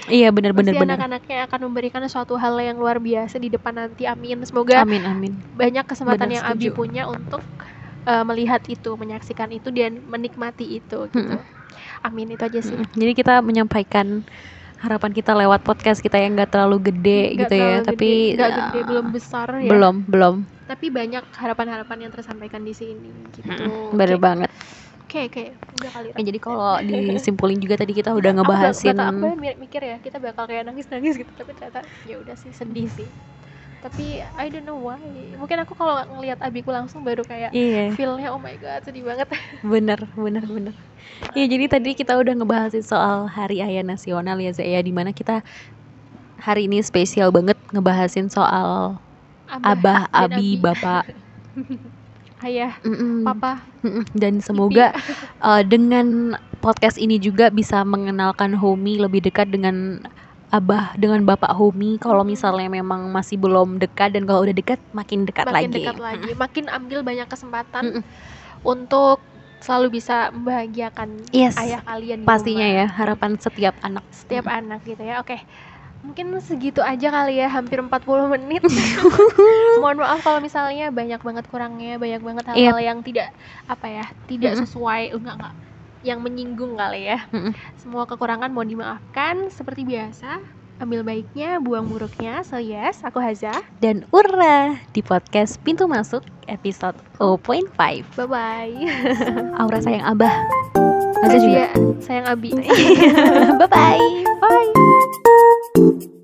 Speaker 1: iya benar-benar
Speaker 2: pasti
Speaker 1: benar.
Speaker 2: anak-anaknya akan memberikan suatu hal yang luar biasa di depan nanti amin semoga
Speaker 1: Amin amin.
Speaker 2: banyak kesempatan
Speaker 1: Benar,
Speaker 2: yang Abi
Speaker 1: setuju.
Speaker 2: punya untuk eh, melihat itu, menyaksikan itu dan menikmati
Speaker 1: Hmm.
Speaker 2: itu gitu. Amin itu aja sih.
Speaker 1: Mm. Jadi kita menyampaikan harapan kita lewat podcast kita yang gak terlalu gede
Speaker 2: Nggak
Speaker 1: gitu ya,
Speaker 2: terlalu
Speaker 1: tapi
Speaker 2: gede, nggak
Speaker 1: uh,
Speaker 2: gede, belum besar ya.
Speaker 1: belum belum.
Speaker 2: Tapi banyak harapan-harapan yang tersampaikan di sini gitu.
Speaker 1: Hmm, Bener
Speaker 2: Oke.
Speaker 1: banget.
Speaker 2: Oke, oke. Udah kali.
Speaker 1: Ya, jadi kalau disimpulin juga tadi kita udah ngebahasin
Speaker 2: Aku, bak- bakal- aku mi- mikir ya, kita bakal kayak nangis-nangis gitu, tapi ternyata ya udah sih sedih sih. Tapi I don't know why. Mungkin aku kalau ngelihat abiku langsung baru kayak
Speaker 1: Iya,
Speaker 2: feel-nya oh my god, sedih banget.
Speaker 1: bener bener bener. Iya, jadi tadi kita udah ngebahasin soal Hari Ayah Nasional ya, Zaya, di mana kita hari ini spesial banget ngebahasin soal
Speaker 2: Abah,
Speaker 1: abah, Iya,
Speaker 2: dan
Speaker 1: abi,
Speaker 2: Abi.
Speaker 1: bapak.
Speaker 2: ayah,
Speaker 1: Mm-mm.
Speaker 2: papa,
Speaker 1: Mm-mm. Dan Hmm, semoga uh, dengan podcast ini juga bisa mengenalkan Homi lebih dekat dengan abah, dengan bapak Homi. Kalau
Speaker 2: Mm.
Speaker 1: misalnya memang masih belum dekat dan kalau udah dekat makin dekat
Speaker 2: makin
Speaker 1: lagi.
Speaker 2: dekat lagi, makin ambil banyak kesempatan
Speaker 1: Mm-mm.
Speaker 2: untuk selalu bisa membahagiakan
Speaker 1: Yes.
Speaker 2: ayah kalian di
Speaker 1: Pastinya
Speaker 2: rumah.
Speaker 1: ya harapan setiap anak.
Speaker 2: setiap anak gitu ya. Oke. Mungkin segitu aja kali ya, hampir 40
Speaker 1: <laughs>
Speaker 2: menit. <laughs> Mohon maaf kalau misalnya banyak banget kurangnya, banyak banget hal-hal yang tidak apa ya, tidak
Speaker 1: Iya. Mm-mm.
Speaker 2: sesuai enggak enggak yang menyinggung kali ya.
Speaker 1: Mm-mm.
Speaker 2: Semua kekurangan mohon dimaafkan seperti biasa. Ambil baiknya, buang buruknya. So yes, aku Haza.
Speaker 1: dan ura di podcast Pintu Masuk episode 0.5.
Speaker 2: Bye bye.
Speaker 1: Aura sayang abah. ya. <laughs>
Speaker 2: Kan ya.
Speaker 1: Masa juga.
Speaker 2: Sayang Abi.
Speaker 1: Bye bye.
Speaker 2: Bye.